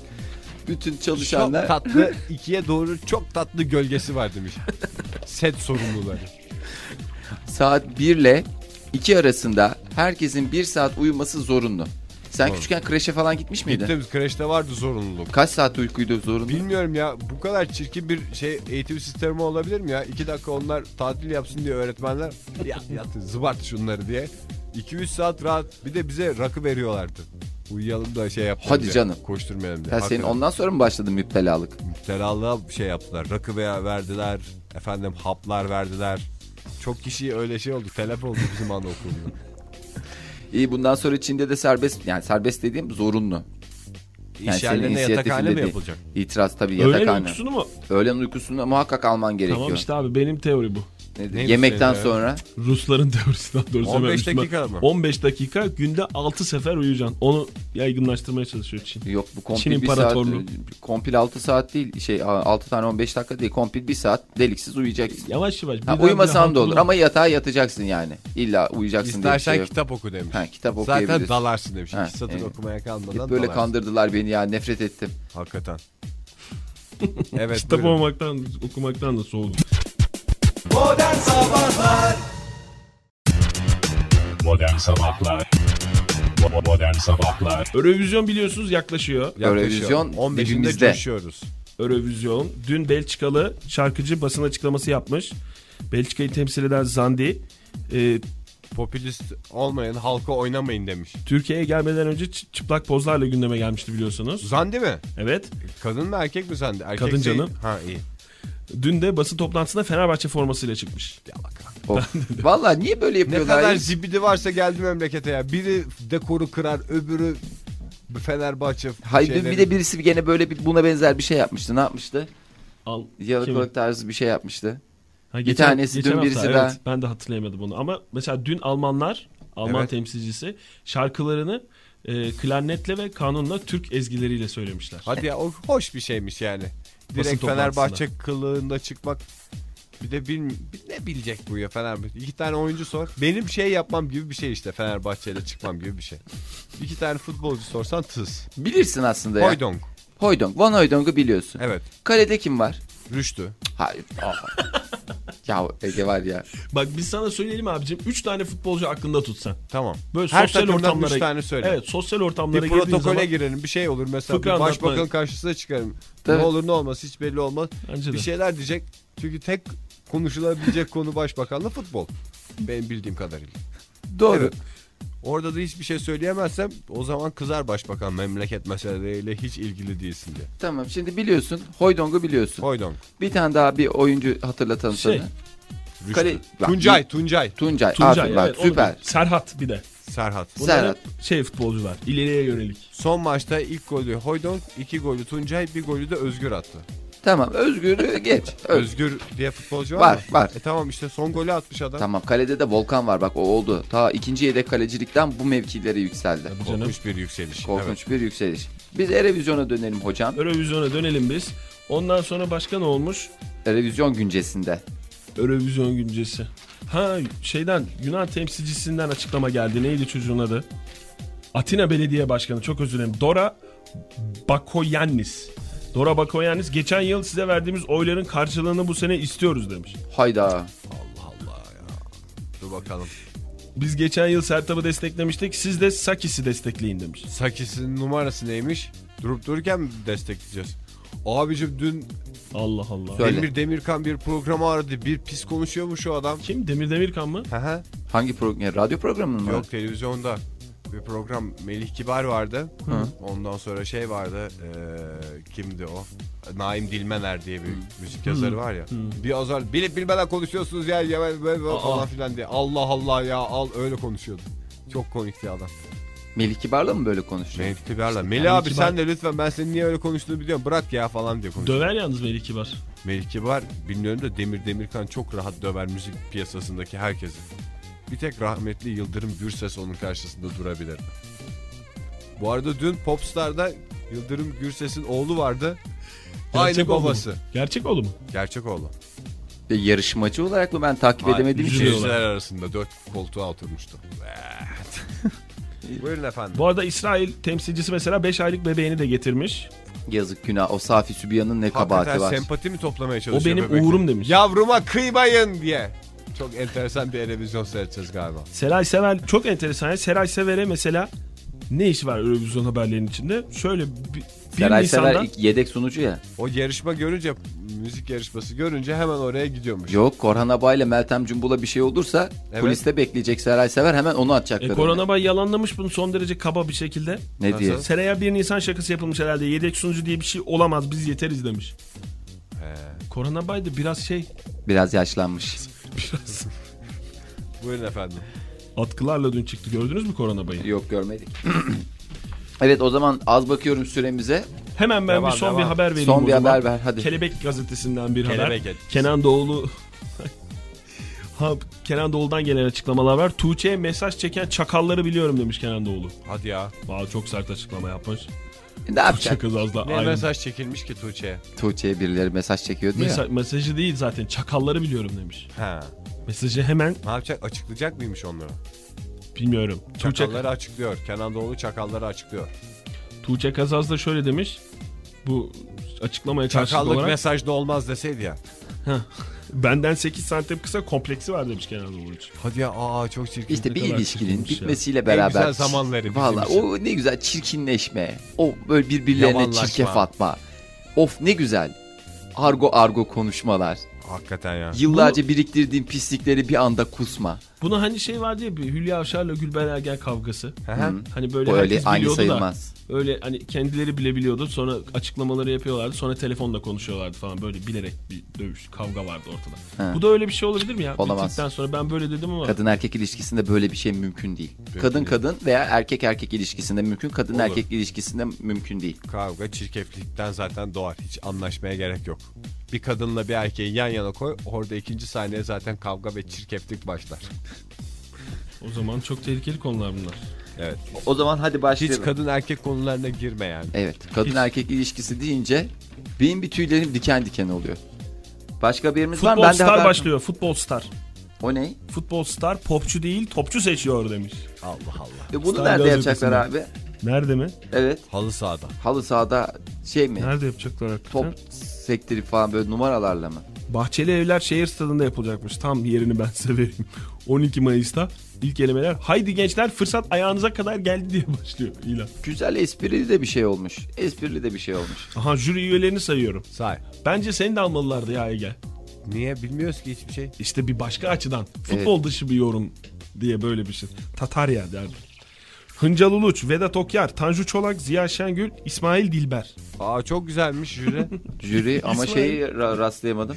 [SPEAKER 5] Bütün
[SPEAKER 2] Çok
[SPEAKER 5] çalışanlar
[SPEAKER 2] tatlı, ikiye doğru çok tatlı gölgesi var demiş. Set sorumluları.
[SPEAKER 5] saat 1 ile 2 arasında herkesin 1 saat uyuması zorunlu. Sen küçükken kreşe falan gitmiş miydin?
[SPEAKER 2] Gittiğimiz kreşte vardı zorunluluk.
[SPEAKER 5] Kaç saat uykuydu zorunlu?
[SPEAKER 2] Bilmiyorum ya bu kadar çirkin bir şey eğitim sistemi olabilir mi ya? İki dakika onlar tatil yapsın diye öğretmenler ya, yatın zıbart şunları diye. 2-3 saat rahat bir de bize rakı veriyorlardı. Uyuyalım da şey yapalım
[SPEAKER 5] Hadi
[SPEAKER 2] diye.
[SPEAKER 5] canım.
[SPEAKER 2] Koşturmayalım diye.
[SPEAKER 5] Ha, senin
[SPEAKER 2] Hakikaten.
[SPEAKER 5] ondan sonra mı başladı müptelalık?
[SPEAKER 2] Müptelalığa şey yaptılar. Rakı veya verdiler. Efendim haplar verdiler. Çok kişi öyle şey oldu. Telef oldu bizim anaokulunda.
[SPEAKER 5] İyi bundan sonra Çin'de de serbest yani serbest dediğim zorunlu. Yani
[SPEAKER 2] İş yerlerine yatakhane mi yapılacak?
[SPEAKER 5] İtiraz tabii
[SPEAKER 4] Öğlen
[SPEAKER 5] yatakhane.
[SPEAKER 4] uykusunu mu?
[SPEAKER 5] Öğlen uykusunu muhakkak alman gerekiyor.
[SPEAKER 4] Tamam işte abi benim teori bu.
[SPEAKER 5] Nedir?
[SPEAKER 2] Neymiş
[SPEAKER 5] Yemekten
[SPEAKER 2] senin,
[SPEAKER 5] sonra
[SPEAKER 4] Rusların teorisi daha doğrusu.
[SPEAKER 2] 15
[SPEAKER 4] ben Müslüman-
[SPEAKER 2] dakika mı?
[SPEAKER 4] 15 dakika günde 6 sefer uyuyacaksın. Onu yaygınlaştırmaya çalışıyor Çin.
[SPEAKER 5] yok
[SPEAKER 4] Çin
[SPEAKER 5] bu kompil bir saat
[SPEAKER 4] İmparatorluğu.
[SPEAKER 5] kompil 6 saat değil şey 6 tane 15 dakika değil kompil bir saat deliksiz uyuyacaksın.
[SPEAKER 4] Yavaş yavaş.
[SPEAKER 5] Ha,
[SPEAKER 4] birden
[SPEAKER 5] uyumasan
[SPEAKER 4] bire
[SPEAKER 5] da olur
[SPEAKER 4] haklı-
[SPEAKER 5] ama yatağa yatacaksın yani. İlla uyuyacaksın diye bir
[SPEAKER 2] İstersen
[SPEAKER 5] şey yok.
[SPEAKER 2] kitap oku demiş.
[SPEAKER 5] Ha, kitap
[SPEAKER 2] Zaten
[SPEAKER 5] okuyabilirsin.
[SPEAKER 2] dalarsın demiş.
[SPEAKER 5] Ha,
[SPEAKER 2] İki satır
[SPEAKER 5] evet.
[SPEAKER 2] okumaya kalmadan
[SPEAKER 5] Hep böyle
[SPEAKER 2] dalarsın.
[SPEAKER 5] kandırdılar beni ya nefret ettim.
[SPEAKER 2] Hakikaten. evet.
[SPEAKER 4] Kitap
[SPEAKER 2] buyurun.
[SPEAKER 4] okumaktan, okumaktan da soğudum.
[SPEAKER 1] Modern Sabahlar Bo- Modern Sabahlar
[SPEAKER 4] Eurovizyon biliyorsunuz yaklaşıyor.
[SPEAKER 2] Yaklaşıyor.
[SPEAKER 5] Eurovision
[SPEAKER 2] 15'inde
[SPEAKER 5] dibimizde.
[SPEAKER 2] coşuyoruz.
[SPEAKER 4] Eurovizyon. Dün Belçikalı şarkıcı basın açıklaması yapmış. Belçika'yı temsil eden Zandi e,
[SPEAKER 2] Popülist olmayan halka oynamayın demiş.
[SPEAKER 4] Türkiye'ye gelmeden önce çı- çıplak pozlarla gündeme gelmişti biliyorsunuz.
[SPEAKER 2] Zandi mi?
[SPEAKER 4] Evet.
[SPEAKER 2] Kadın mı erkek mi Zandi? Erkek
[SPEAKER 4] Kadın
[SPEAKER 2] değil.
[SPEAKER 4] canım.
[SPEAKER 2] Ha iyi.
[SPEAKER 4] Dün de basın toplantısında Fenerbahçe formasıyla çıkmış.
[SPEAKER 5] Of. Valla niye böyle
[SPEAKER 2] Ne
[SPEAKER 5] yapıyorlar?
[SPEAKER 2] kadar
[SPEAKER 5] ya?
[SPEAKER 2] zibidi varsa geldi memlekete ya. Biri dekoru kırar öbürü Fenerbahçe
[SPEAKER 5] Hayır dün
[SPEAKER 2] şeyleri-
[SPEAKER 5] bir de birisi gene böyle bir, buna benzer bir şey yapmıştı. Ne yapmıştı?
[SPEAKER 4] Al. Kim?
[SPEAKER 5] Yalakalık tarzı bir şey yapmıştı.
[SPEAKER 4] Ha,
[SPEAKER 5] tanesi dün, birisi
[SPEAKER 4] evet, ben de hatırlayamadım onu. Ama mesela dün Almanlar, Alman
[SPEAKER 2] Evet.
[SPEAKER 4] temsilcisi şarkılarını e, klarnetle ve kanunla Türk ezgileriyle söylemişler.
[SPEAKER 2] Hadi ya o hoş bir şeymiş yani.
[SPEAKER 4] Basın
[SPEAKER 2] Direkt
[SPEAKER 4] toplantısında.
[SPEAKER 2] Fenerbahçe kılığında çıkmak bir de bil, bir- ne bilecek bu ya Fenerbahçe. İki tane oyuncu sor. Benim şey yapmam gibi bir şey işte Fenerbahçe ile çıkmam gibi bir şey. İki tane futbolcu sorsan tıs.
[SPEAKER 5] Bilirsin aslında ya.
[SPEAKER 2] Hoydong.
[SPEAKER 5] Hoydong. Van Hoydong'u biliyorsun.
[SPEAKER 2] Evet.
[SPEAKER 5] Kalede kim var?
[SPEAKER 2] Rüştü.
[SPEAKER 5] Hayır. Aa. ya Ege var ya.
[SPEAKER 4] Bak biz sana söyleyelim abicim. 3 tane futbolcu aklında tutsan.
[SPEAKER 2] Tamam.
[SPEAKER 4] Böyle
[SPEAKER 2] Her
[SPEAKER 4] sosyal
[SPEAKER 2] takımdan
[SPEAKER 4] ortamlara...
[SPEAKER 2] üç tane söyle.
[SPEAKER 4] Evet sosyal ortamlara
[SPEAKER 2] Bir
[SPEAKER 4] girdiğin
[SPEAKER 2] protokole
[SPEAKER 4] zaman...
[SPEAKER 2] girelim bir şey olur mesela.
[SPEAKER 4] Fıkra
[SPEAKER 2] Bir başbakan
[SPEAKER 4] anlatma.
[SPEAKER 2] karşısına çıkarım.
[SPEAKER 5] Tabii.
[SPEAKER 2] Ne olur ne olmaz hiç belli olmaz.
[SPEAKER 4] Bence de.
[SPEAKER 2] Bir şeyler diyecek. Çünkü tek konuşulabilecek konu başbakanla futbol. Benim bildiğim kadarıyla.
[SPEAKER 5] Doğru.
[SPEAKER 2] Evet. Orada da hiçbir şey söyleyemezsem o zaman kızar başbakan memleket meseleleriyle hiç ilgili değilsin diye.
[SPEAKER 5] Tamam şimdi biliyorsun. Hoydong'u biliyorsun.
[SPEAKER 2] Hoydon.
[SPEAKER 5] bir tane daha bir oyuncu hatırlatalım
[SPEAKER 4] Şey,
[SPEAKER 5] sana.
[SPEAKER 2] Rüştü.
[SPEAKER 5] Kale- Bak,
[SPEAKER 2] Tuncay, Tuncay,
[SPEAKER 5] Tuncay.
[SPEAKER 4] Tuncay,
[SPEAKER 5] aferin bak,
[SPEAKER 4] evet, onu
[SPEAKER 5] süper.
[SPEAKER 4] bil. Serhat bir de.
[SPEAKER 2] Serhat.
[SPEAKER 4] Bunlar
[SPEAKER 5] Serhat.
[SPEAKER 4] hep şey futbolcular. ileriye yönelik.
[SPEAKER 2] Son maçta ilk golü Hoydon, iki golü Tuncay, bir golü de Özgür attı.
[SPEAKER 5] Tamam Özgür'ü geç. Öz-
[SPEAKER 2] Özgür diye futbolcu var,
[SPEAKER 5] Var,
[SPEAKER 2] mı?
[SPEAKER 5] var.
[SPEAKER 2] E tamam işte son golü atmış adam.
[SPEAKER 5] Tamam kalede de Volkan var bak o oldu. Ta ikinci yedek kalecilikten bu mevkilere yükseldi.
[SPEAKER 4] Bu canım.
[SPEAKER 2] Korkunç bir yükseliş.
[SPEAKER 5] Korkunç bir yükseliş. Biz Erevizyon'a dönelim hocam.
[SPEAKER 4] Eurovizyona dönelim biz. Ondan sonra başka ne olmuş?
[SPEAKER 5] Erevizyon güncesinde.
[SPEAKER 4] Eurovizyon güncesi. Ha şeyden Yunan temsilcisinden açıklama geldi. Neydi çocuğun adı? Atina Belediye Başkanı çok özür dilerim. Dora Bakoyannis. Dora Bakoyannis geçen yıl size verdiğimiz oyların karşılığını bu sene istiyoruz demiş.
[SPEAKER 5] Hayda.
[SPEAKER 2] Evet. Dur bakalım.
[SPEAKER 4] Biz geçen yıl Sertab'ı desteklemiştik. Siz de Sakis'i destekleyin demiş.
[SPEAKER 2] Sakis'in numarası neymiş? Durup dururken mi destekleyeceğiz? Abicim dün
[SPEAKER 4] Allah Allah.
[SPEAKER 5] Söyle.
[SPEAKER 2] Demir Demirkan bir programı aradı. Bir pis konuşuyor mu şu adam?
[SPEAKER 4] Kim? Demir Demirkan mı?
[SPEAKER 2] Hı hı.
[SPEAKER 5] Hangi program? ya, Radyo programının mı?
[SPEAKER 2] Yok televizyonda bir program Melih Kibar vardı. Ondan sonra şey vardı. eee, kimdi o? Naim Dilmener diye bir müzik yazarı var ya. Bir azar bilip bilmeden konuşuyorsunuz ya ya ben- ben- ben
[SPEAKER 4] Aa.
[SPEAKER 2] falan filan diye. Allah Allah ya al öyle konuşuyordu. Çok komikti adam.
[SPEAKER 5] Melih Kibar'la mı böyle konuşuyor?
[SPEAKER 2] Melih Kibar'la. Melih
[SPEAKER 4] Melih
[SPEAKER 2] abi
[SPEAKER 4] Kibar-
[SPEAKER 2] sen de lütfen ben senin niye öyle konuştuğunu biliyorum. Bırak ya falan diye konuşuyor.
[SPEAKER 4] Döver yalnız Melih Kibar.
[SPEAKER 2] Melih Kibar bilmiyorum da Demir Demirkan çok rahat döver müzik piyasasındaki herkesi. Bir tek rahmetli Yıldırım Gürses onun karşısında durabilir. Bu arada dün Popstar'da Yıldırım Gürses'in oğlu vardı. Aynı
[SPEAKER 4] oğlu mu?
[SPEAKER 2] babası.
[SPEAKER 4] Gerçek oğlu mu?
[SPEAKER 2] Gerçek oğlu.
[SPEAKER 5] E, Yarışmacı olarak mı ben takip edemedim
[SPEAKER 4] yüzüyor.
[SPEAKER 5] ki?
[SPEAKER 2] Seyirciler arasında dört koltuğa oturmuştu. Evet. Buyurun efendim.
[SPEAKER 4] Bu arada İsrail temsilcisi mesela 5 aylık bebeğini de getirmiş.
[SPEAKER 5] Yazık günah o Safi Sübiyan'ın ne kabahati
[SPEAKER 2] Hakikaten
[SPEAKER 5] var.
[SPEAKER 2] sempati mi toplamaya
[SPEAKER 4] O
[SPEAKER 2] çalışıyor
[SPEAKER 4] benim
[SPEAKER 2] bebek?
[SPEAKER 4] uğurum demiş.
[SPEAKER 2] Yavruma kıymayın diye. Çok enteresan bir televizyon seyredeceğiz galiba.
[SPEAKER 4] Seray Sever çok enteresan. ya. Seray Sever'e mesela Ne işi var Eurovision haberlerinin içinde? Şöyle bir, bir E,
[SPEAKER 5] Seray Sever
[SPEAKER 4] Nisan'dan
[SPEAKER 5] ilk yedek sunucu ya.
[SPEAKER 2] O yarışma görünce müzik yarışması görünce hemen oraya gidiyormuş.
[SPEAKER 5] Yok Korhan Abay ile Meltem Cumbul'a bir şey olursa
[SPEAKER 2] Evet.
[SPEAKER 5] kuliste bekleyecek Seray Sever hemen onu
[SPEAKER 4] e,
[SPEAKER 5] atacaklar. önüne.
[SPEAKER 4] Korhan Abay yalanlamış bunu son derece kaba bir şekilde.
[SPEAKER 5] Ne diye?
[SPEAKER 4] Seraya 1 Nisan şakası yapılmış herhalde. Yedek sunucu diye bir şey olamaz biz yeteriz demiş. Korhan Abay da biraz şey
[SPEAKER 5] Biraz yaşlanmış.
[SPEAKER 4] biraz
[SPEAKER 2] Buyurun efendim.
[SPEAKER 4] atkılarla dün çıktı. Gördünüz mü Korhan Abay'ı?
[SPEAKER 5] Yok görmedik. evet o zaman az bakıyorum süremize.
[SPEAKER 4] Hemen ben
[SPEAKER 2] Devam,
[SPEAKER 4] bir son
[SPEAKER 2] devam.
[SPEAKER 4] bir haber vereyim.
[SPEAKER 5] Son
[SPEAKER 4] o
[SPEAKER 5] bir
[SPEAKER 4] zaman.
[SPEAKER 5] haber ver, hadi.
[SPEAKER 4] Kelebek gazetesinden bir haber.
[SPEAKER 2] Kelebek etkisi.
[SPEAKER 4] Kenan Doğulu Ha, Kenan Doğulu'dan gelen açıklamalar var. Tuğçe'ye mesaj çeken çakalları biliyorum demiş Kenan Doğulu.
[SPEAKER 2] Hadi ya.
[SPEAKER 4] Valla çok sert açıklama yapmış.
[SPEAKER 5] Ne yapacak?
[SPEAKER 4] Çakız az da
[SPEAKER 2] Ne
[SPEAKER 4] aynı.
[SPEAKER 2] mesaj çekilmiş ki Tuğçe'ye?
[SPEAKER 5] Tuğçe'ye birileri mesaj çekiyor diye.
[SPEAKER 4] Mesa- mesajı değil zaten çakalları biliyorum demiş.
[SPEAKER 2] Ha.
[SPEAKER 4] Mesajı hemen
[SPEAKER 2] Ne yapacak? Açıklayacak mıymış onları?
[SPEAKER 4] bilmiyorum. Tuğçe,
[SPEAKER 2] Çakalları açıklıyor. Kenan Doğulu çakalları açıklıyor.
[SPEAKER 4] Tuğçe Kazaz da şöyle demiş. Bu açıklamaya karşılık
[SPEAKER 2] Çakallık
[SPEAKER 4] olarak
[SPEAKER 2] mesajda olmaz deseydi ya.
[SPEAKER 4] benden 8 santim kısa kompleksi var demiş Kenan Doğulu için.
[SPEAKER 2] Hadi ya aa çok çirkin.
[SPEAKER 5] İşte bir
[SPEAKER 4] Ne kadar
[SPEAKER 5] ilişkinin
[SPEAKER 4] çirkinmiş ya.
[SPEAKER 5] bitmesiyle
[SPEAKER 2] En
[SPEAKER 5] beraber.
[SPEAKER 2] güzel zamanları bizim
[SPEAKER 5] Valla
[SPEAKER 2] için.
[SPEAKER 5] o ne güzel çirkinleşme. O böyle birbirlerine
[SPEAKER 2] Yamanlaşma.
[SPEAKER 5] çirkef atma. Of ne güzel. Argo argo konuşmalar.
[SPEAKER 2] Hakikaten ya.
[SPEAKER 5] Yıllarca biriktirdiğin pislikleri bir anda kusma.
[SPEAKER 4] Buna hani şey vardı ya bir Hülya Avşar'la Gülben Ergen kavgası.
[SPEAKER 2] Hı.
[SPEAKER 4] Hani böyle
[SPEAKER 5] O öyle
[SPEAKER 4] herkes
[SPEAKER 5] aynı
[SPEAKER 4] biliyordu
[SPEAKER 5] sayılmaz.
[SPEAKER 4] da öyle hani kendileri bile biliyordu. Sonra açıklamaları yapıyorlardı. Sonra telefonla konuşuyorlardı falan. Böyle bilerek bir dövüş, kavga vardı ortada.
[SPEAKER 5] Ha.
[SPEAKER 4] Bu da öyle bir şey olabilir mi ya?
[SPEAKER 5] Olamaz.
[SPEAKER 4] Bittikten sonra ben böyle dedim ama
[SPEAKER 5] Kadın erkek ilişkisinde böyle bir şey mümkün değil. kadın kadın veya erkek erkek ilişkisinde mümkün, kadın erkek ilişkisinde mümkün değil.
[SPEAKER 2] Kavga çirkeflikten zaten doğar. Hiç anlaşmaya gerek yok. Bir kadınla bir erkeği yan yana koy. Orada ikinci sahneye zaten kavga ve çirkeflik başlar.
[SPEAKER 4] o zaman çok tehlikeli konular bunlar.
[SPEAKER 2] Evet.
[SPEAKER 5] O zaman hadi
[SPEAKER 2] Hiç
[SPEAKER 5] başlayalım.
[SPEAKER 2] kadın erkek konularına girme yani.
[SPEAKER 5] evet, kadın erkek ilişkisi deyince benim bir tüylerim diken diken oluyor. Başka birimiz var mı?
[SPEAKER 4] Futbol
[SPEAKER 5] Ben de
[SPEAKER 4] Star
[SPEAKER 5] haber-
[SPEAKER 4] başlıyor. Futbol Star.
[SPEAKER 5] O ne?
[SPEAKER 4] Futbol Star popçu değil topçu seçiyor demiş.
[SPEAKER 2] Allah Allah.
[SPEAKER 5] E bunu
[SPEAKER 4] Star
[SPEAKER 5] nerede
[SPEAKER 4] gazetesinde.
[SPEAKER 5] yapacaklar abi?
[SPEAKER 4] Nerede mi?
[SPEAKER 5] Evet.
[SPEAKER 2] Halı sahada.
[SPEAKER 5] Halı sahada şey mi?
[SPEAKER 4] Nerede yapacaklar hakikaten?
[SPEAKER 5] Top sektirip falan böyle numaralarla mı?
[SPEAKER 4] Bahçeli Evler şehir stadında yapılacakmış. Tam yerini ben severim. 12 Mayıs'ta ilk elemeler. Haydi gençler fırsat ayağınıza kadar geldi diye başlıyor ilan.
[SPEAKER 5] Güzel esprili de bir şey olmuş. Esprili de bir şey olmuş.
[SPEAKER 4] Aha jüri üyelerini sayıyorum.
[SPEAKER 2] Say.
[SPEAKER 4] Bence seni de almalılardı ya Ege.
[SPEAKER 2] Niye bilmiyoruz ki hiçbir şey.
[SPEAKER 4] İşte bir başka açıdan futbol dışı bir yorum diye böyle bir şey. Tatarya derdi. Hıncal Uluç, Vedat Okyar, Tanju Çolak, Ziya Şengül, İsmail Dilber.
[SPEAKER 2] Aa çok güzelmiş jüri.
[SPEAKER 5] Jüri ama
[SPEAKER 4] İsmail.
[SPEAKER 5] şeyi ra- rastlayamadım.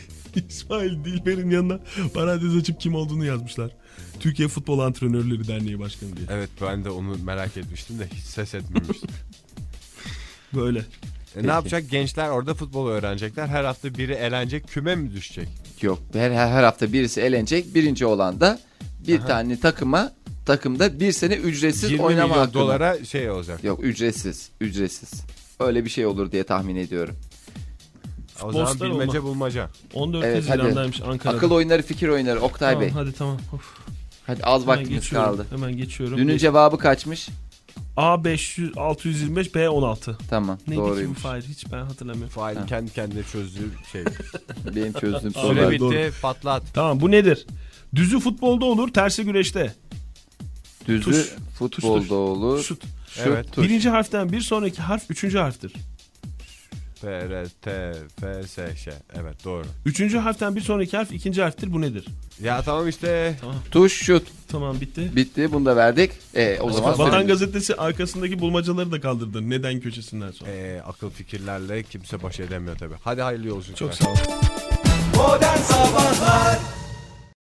[SPEAKER 4] İsmail Dilber'in yanına parantez açıp kim olduğunu yazmışlar. Türkiye Futbol Antrenörleri Derneği Başkanı diye.
[SPEAKER 2] evet ben de onu merak etmiştim de hiç ses etmemiştim.
[SPEAKER 4] Böyle.
[SPEAKER 2] E, ne yapacak? Gençler orada futbol öğrenecekler. Her hafta biri elenecek. Küme mi düşecek?
[SPEAKER 5] Yok her, her her hafta birisi elenecek. Birinci olan da bir tane takıma takımda bir sene ücretsiz
[SPEAKER 2] 20
[SPEAKER 5] oynama
[SPEAKER 2] milyon
[SPEAKER 5] hakkı.
[SPEAKER 2] dolara şey olacak.
[SPEAKER 5] Yok ücretsiz. Ücretsiz. Öyle bir şey olur diye tahmin ediyorum.
[SPEAKER 2] O zaman
[SPEAKER 4] Futbolcular
[SPEAKER 2] bilmece bulmaca.
[SPEAKER 4] 14
[SPEAKER 5] Evet, hadi.
[SPEAKER 4] Haziran'daymış Ankara'da.
[SPEAKER 5] Akıl oyunları fikir oyunları Oktay
[SPEAKER 4] tamam,
[SPEAKER 5] Bey.
[SPEAKER 4] Hadi tamam. Of,
[SPEAKER 5] Hadi az
[SPEAKER 4] hemen
[SPEAKER 5] vaktimiz
[SPEAKER 4] geçiyorum,
[SPEAKER 5] kaldı.
[SPEAKER 4] Hemen geçiyorum.
[SPEAKER 5] Dünün cevabı kaçmış?
[SPEAKER 4] A 500 625 B 16.
[SPEAKER 5] Tamam
[SPEAKER 4] Neydi ki bu
[SPEAKER 5] doğruymuş.
[SPEAKER 4] Fahir? Hiç ben hatırlamıyorum.
[SPEAKER 2] Fail kendi kendine çözdüğü şey.
[SPEAKER 5] Benim çözdüğüm
[SPEAKER 2] Süre
[SPEAKER 5] soru.
[SPEAKER 2] bitti. Patlat.
[SPEAKER 4] Tamam bu nedir? Düzü futbolda olur, tersi güreşte.
[SPEAKER 5] Düzü
[SPEAKER 4] Tuş. Tuş,
[SPEAKER 5] futbolda
[SPEAKER 4] tuş.
[SPEAKER 5] olur.
[SPEAKER 4] Şut.
[SPEAKER 5] Şut,
[SPEAKER 2] Evet.
[SPEAKER 5] tuş.
[SPEAKER 4] Birinci harften bir sonraki harf üçüncü harftir.
[SPEAKER 2] P, R, T, F, S, Ş. Evet doğru.
[SPEAKER 4] Üçüncü harften bir sonraki harf ikinci harftir. Bu nedir?
[SPEAKER 2] Ya tamam işte.
[SPEAKER 5] Tuş şut.
[SPEAKER 4] Tamam bitti.
[SPEAKER 5] Bitti. Bunu da verdik. E, o zaman
[SPEAKER 4] Vatan
[SPEAKER 5] süremiz-
[SPEAKER 4] gazetesi arkasındaki bulmacaları da kaldırdı. Neden köşesinden sonra.
[SPEAKER 2] Ee, akıl fikirlerle kimse baş edemiyor tabii. Hadi hayırlı yolculuklar.
[SPEAKER 4] Çok sağ ol.
[SPEAKER 6] Modern Sabahlar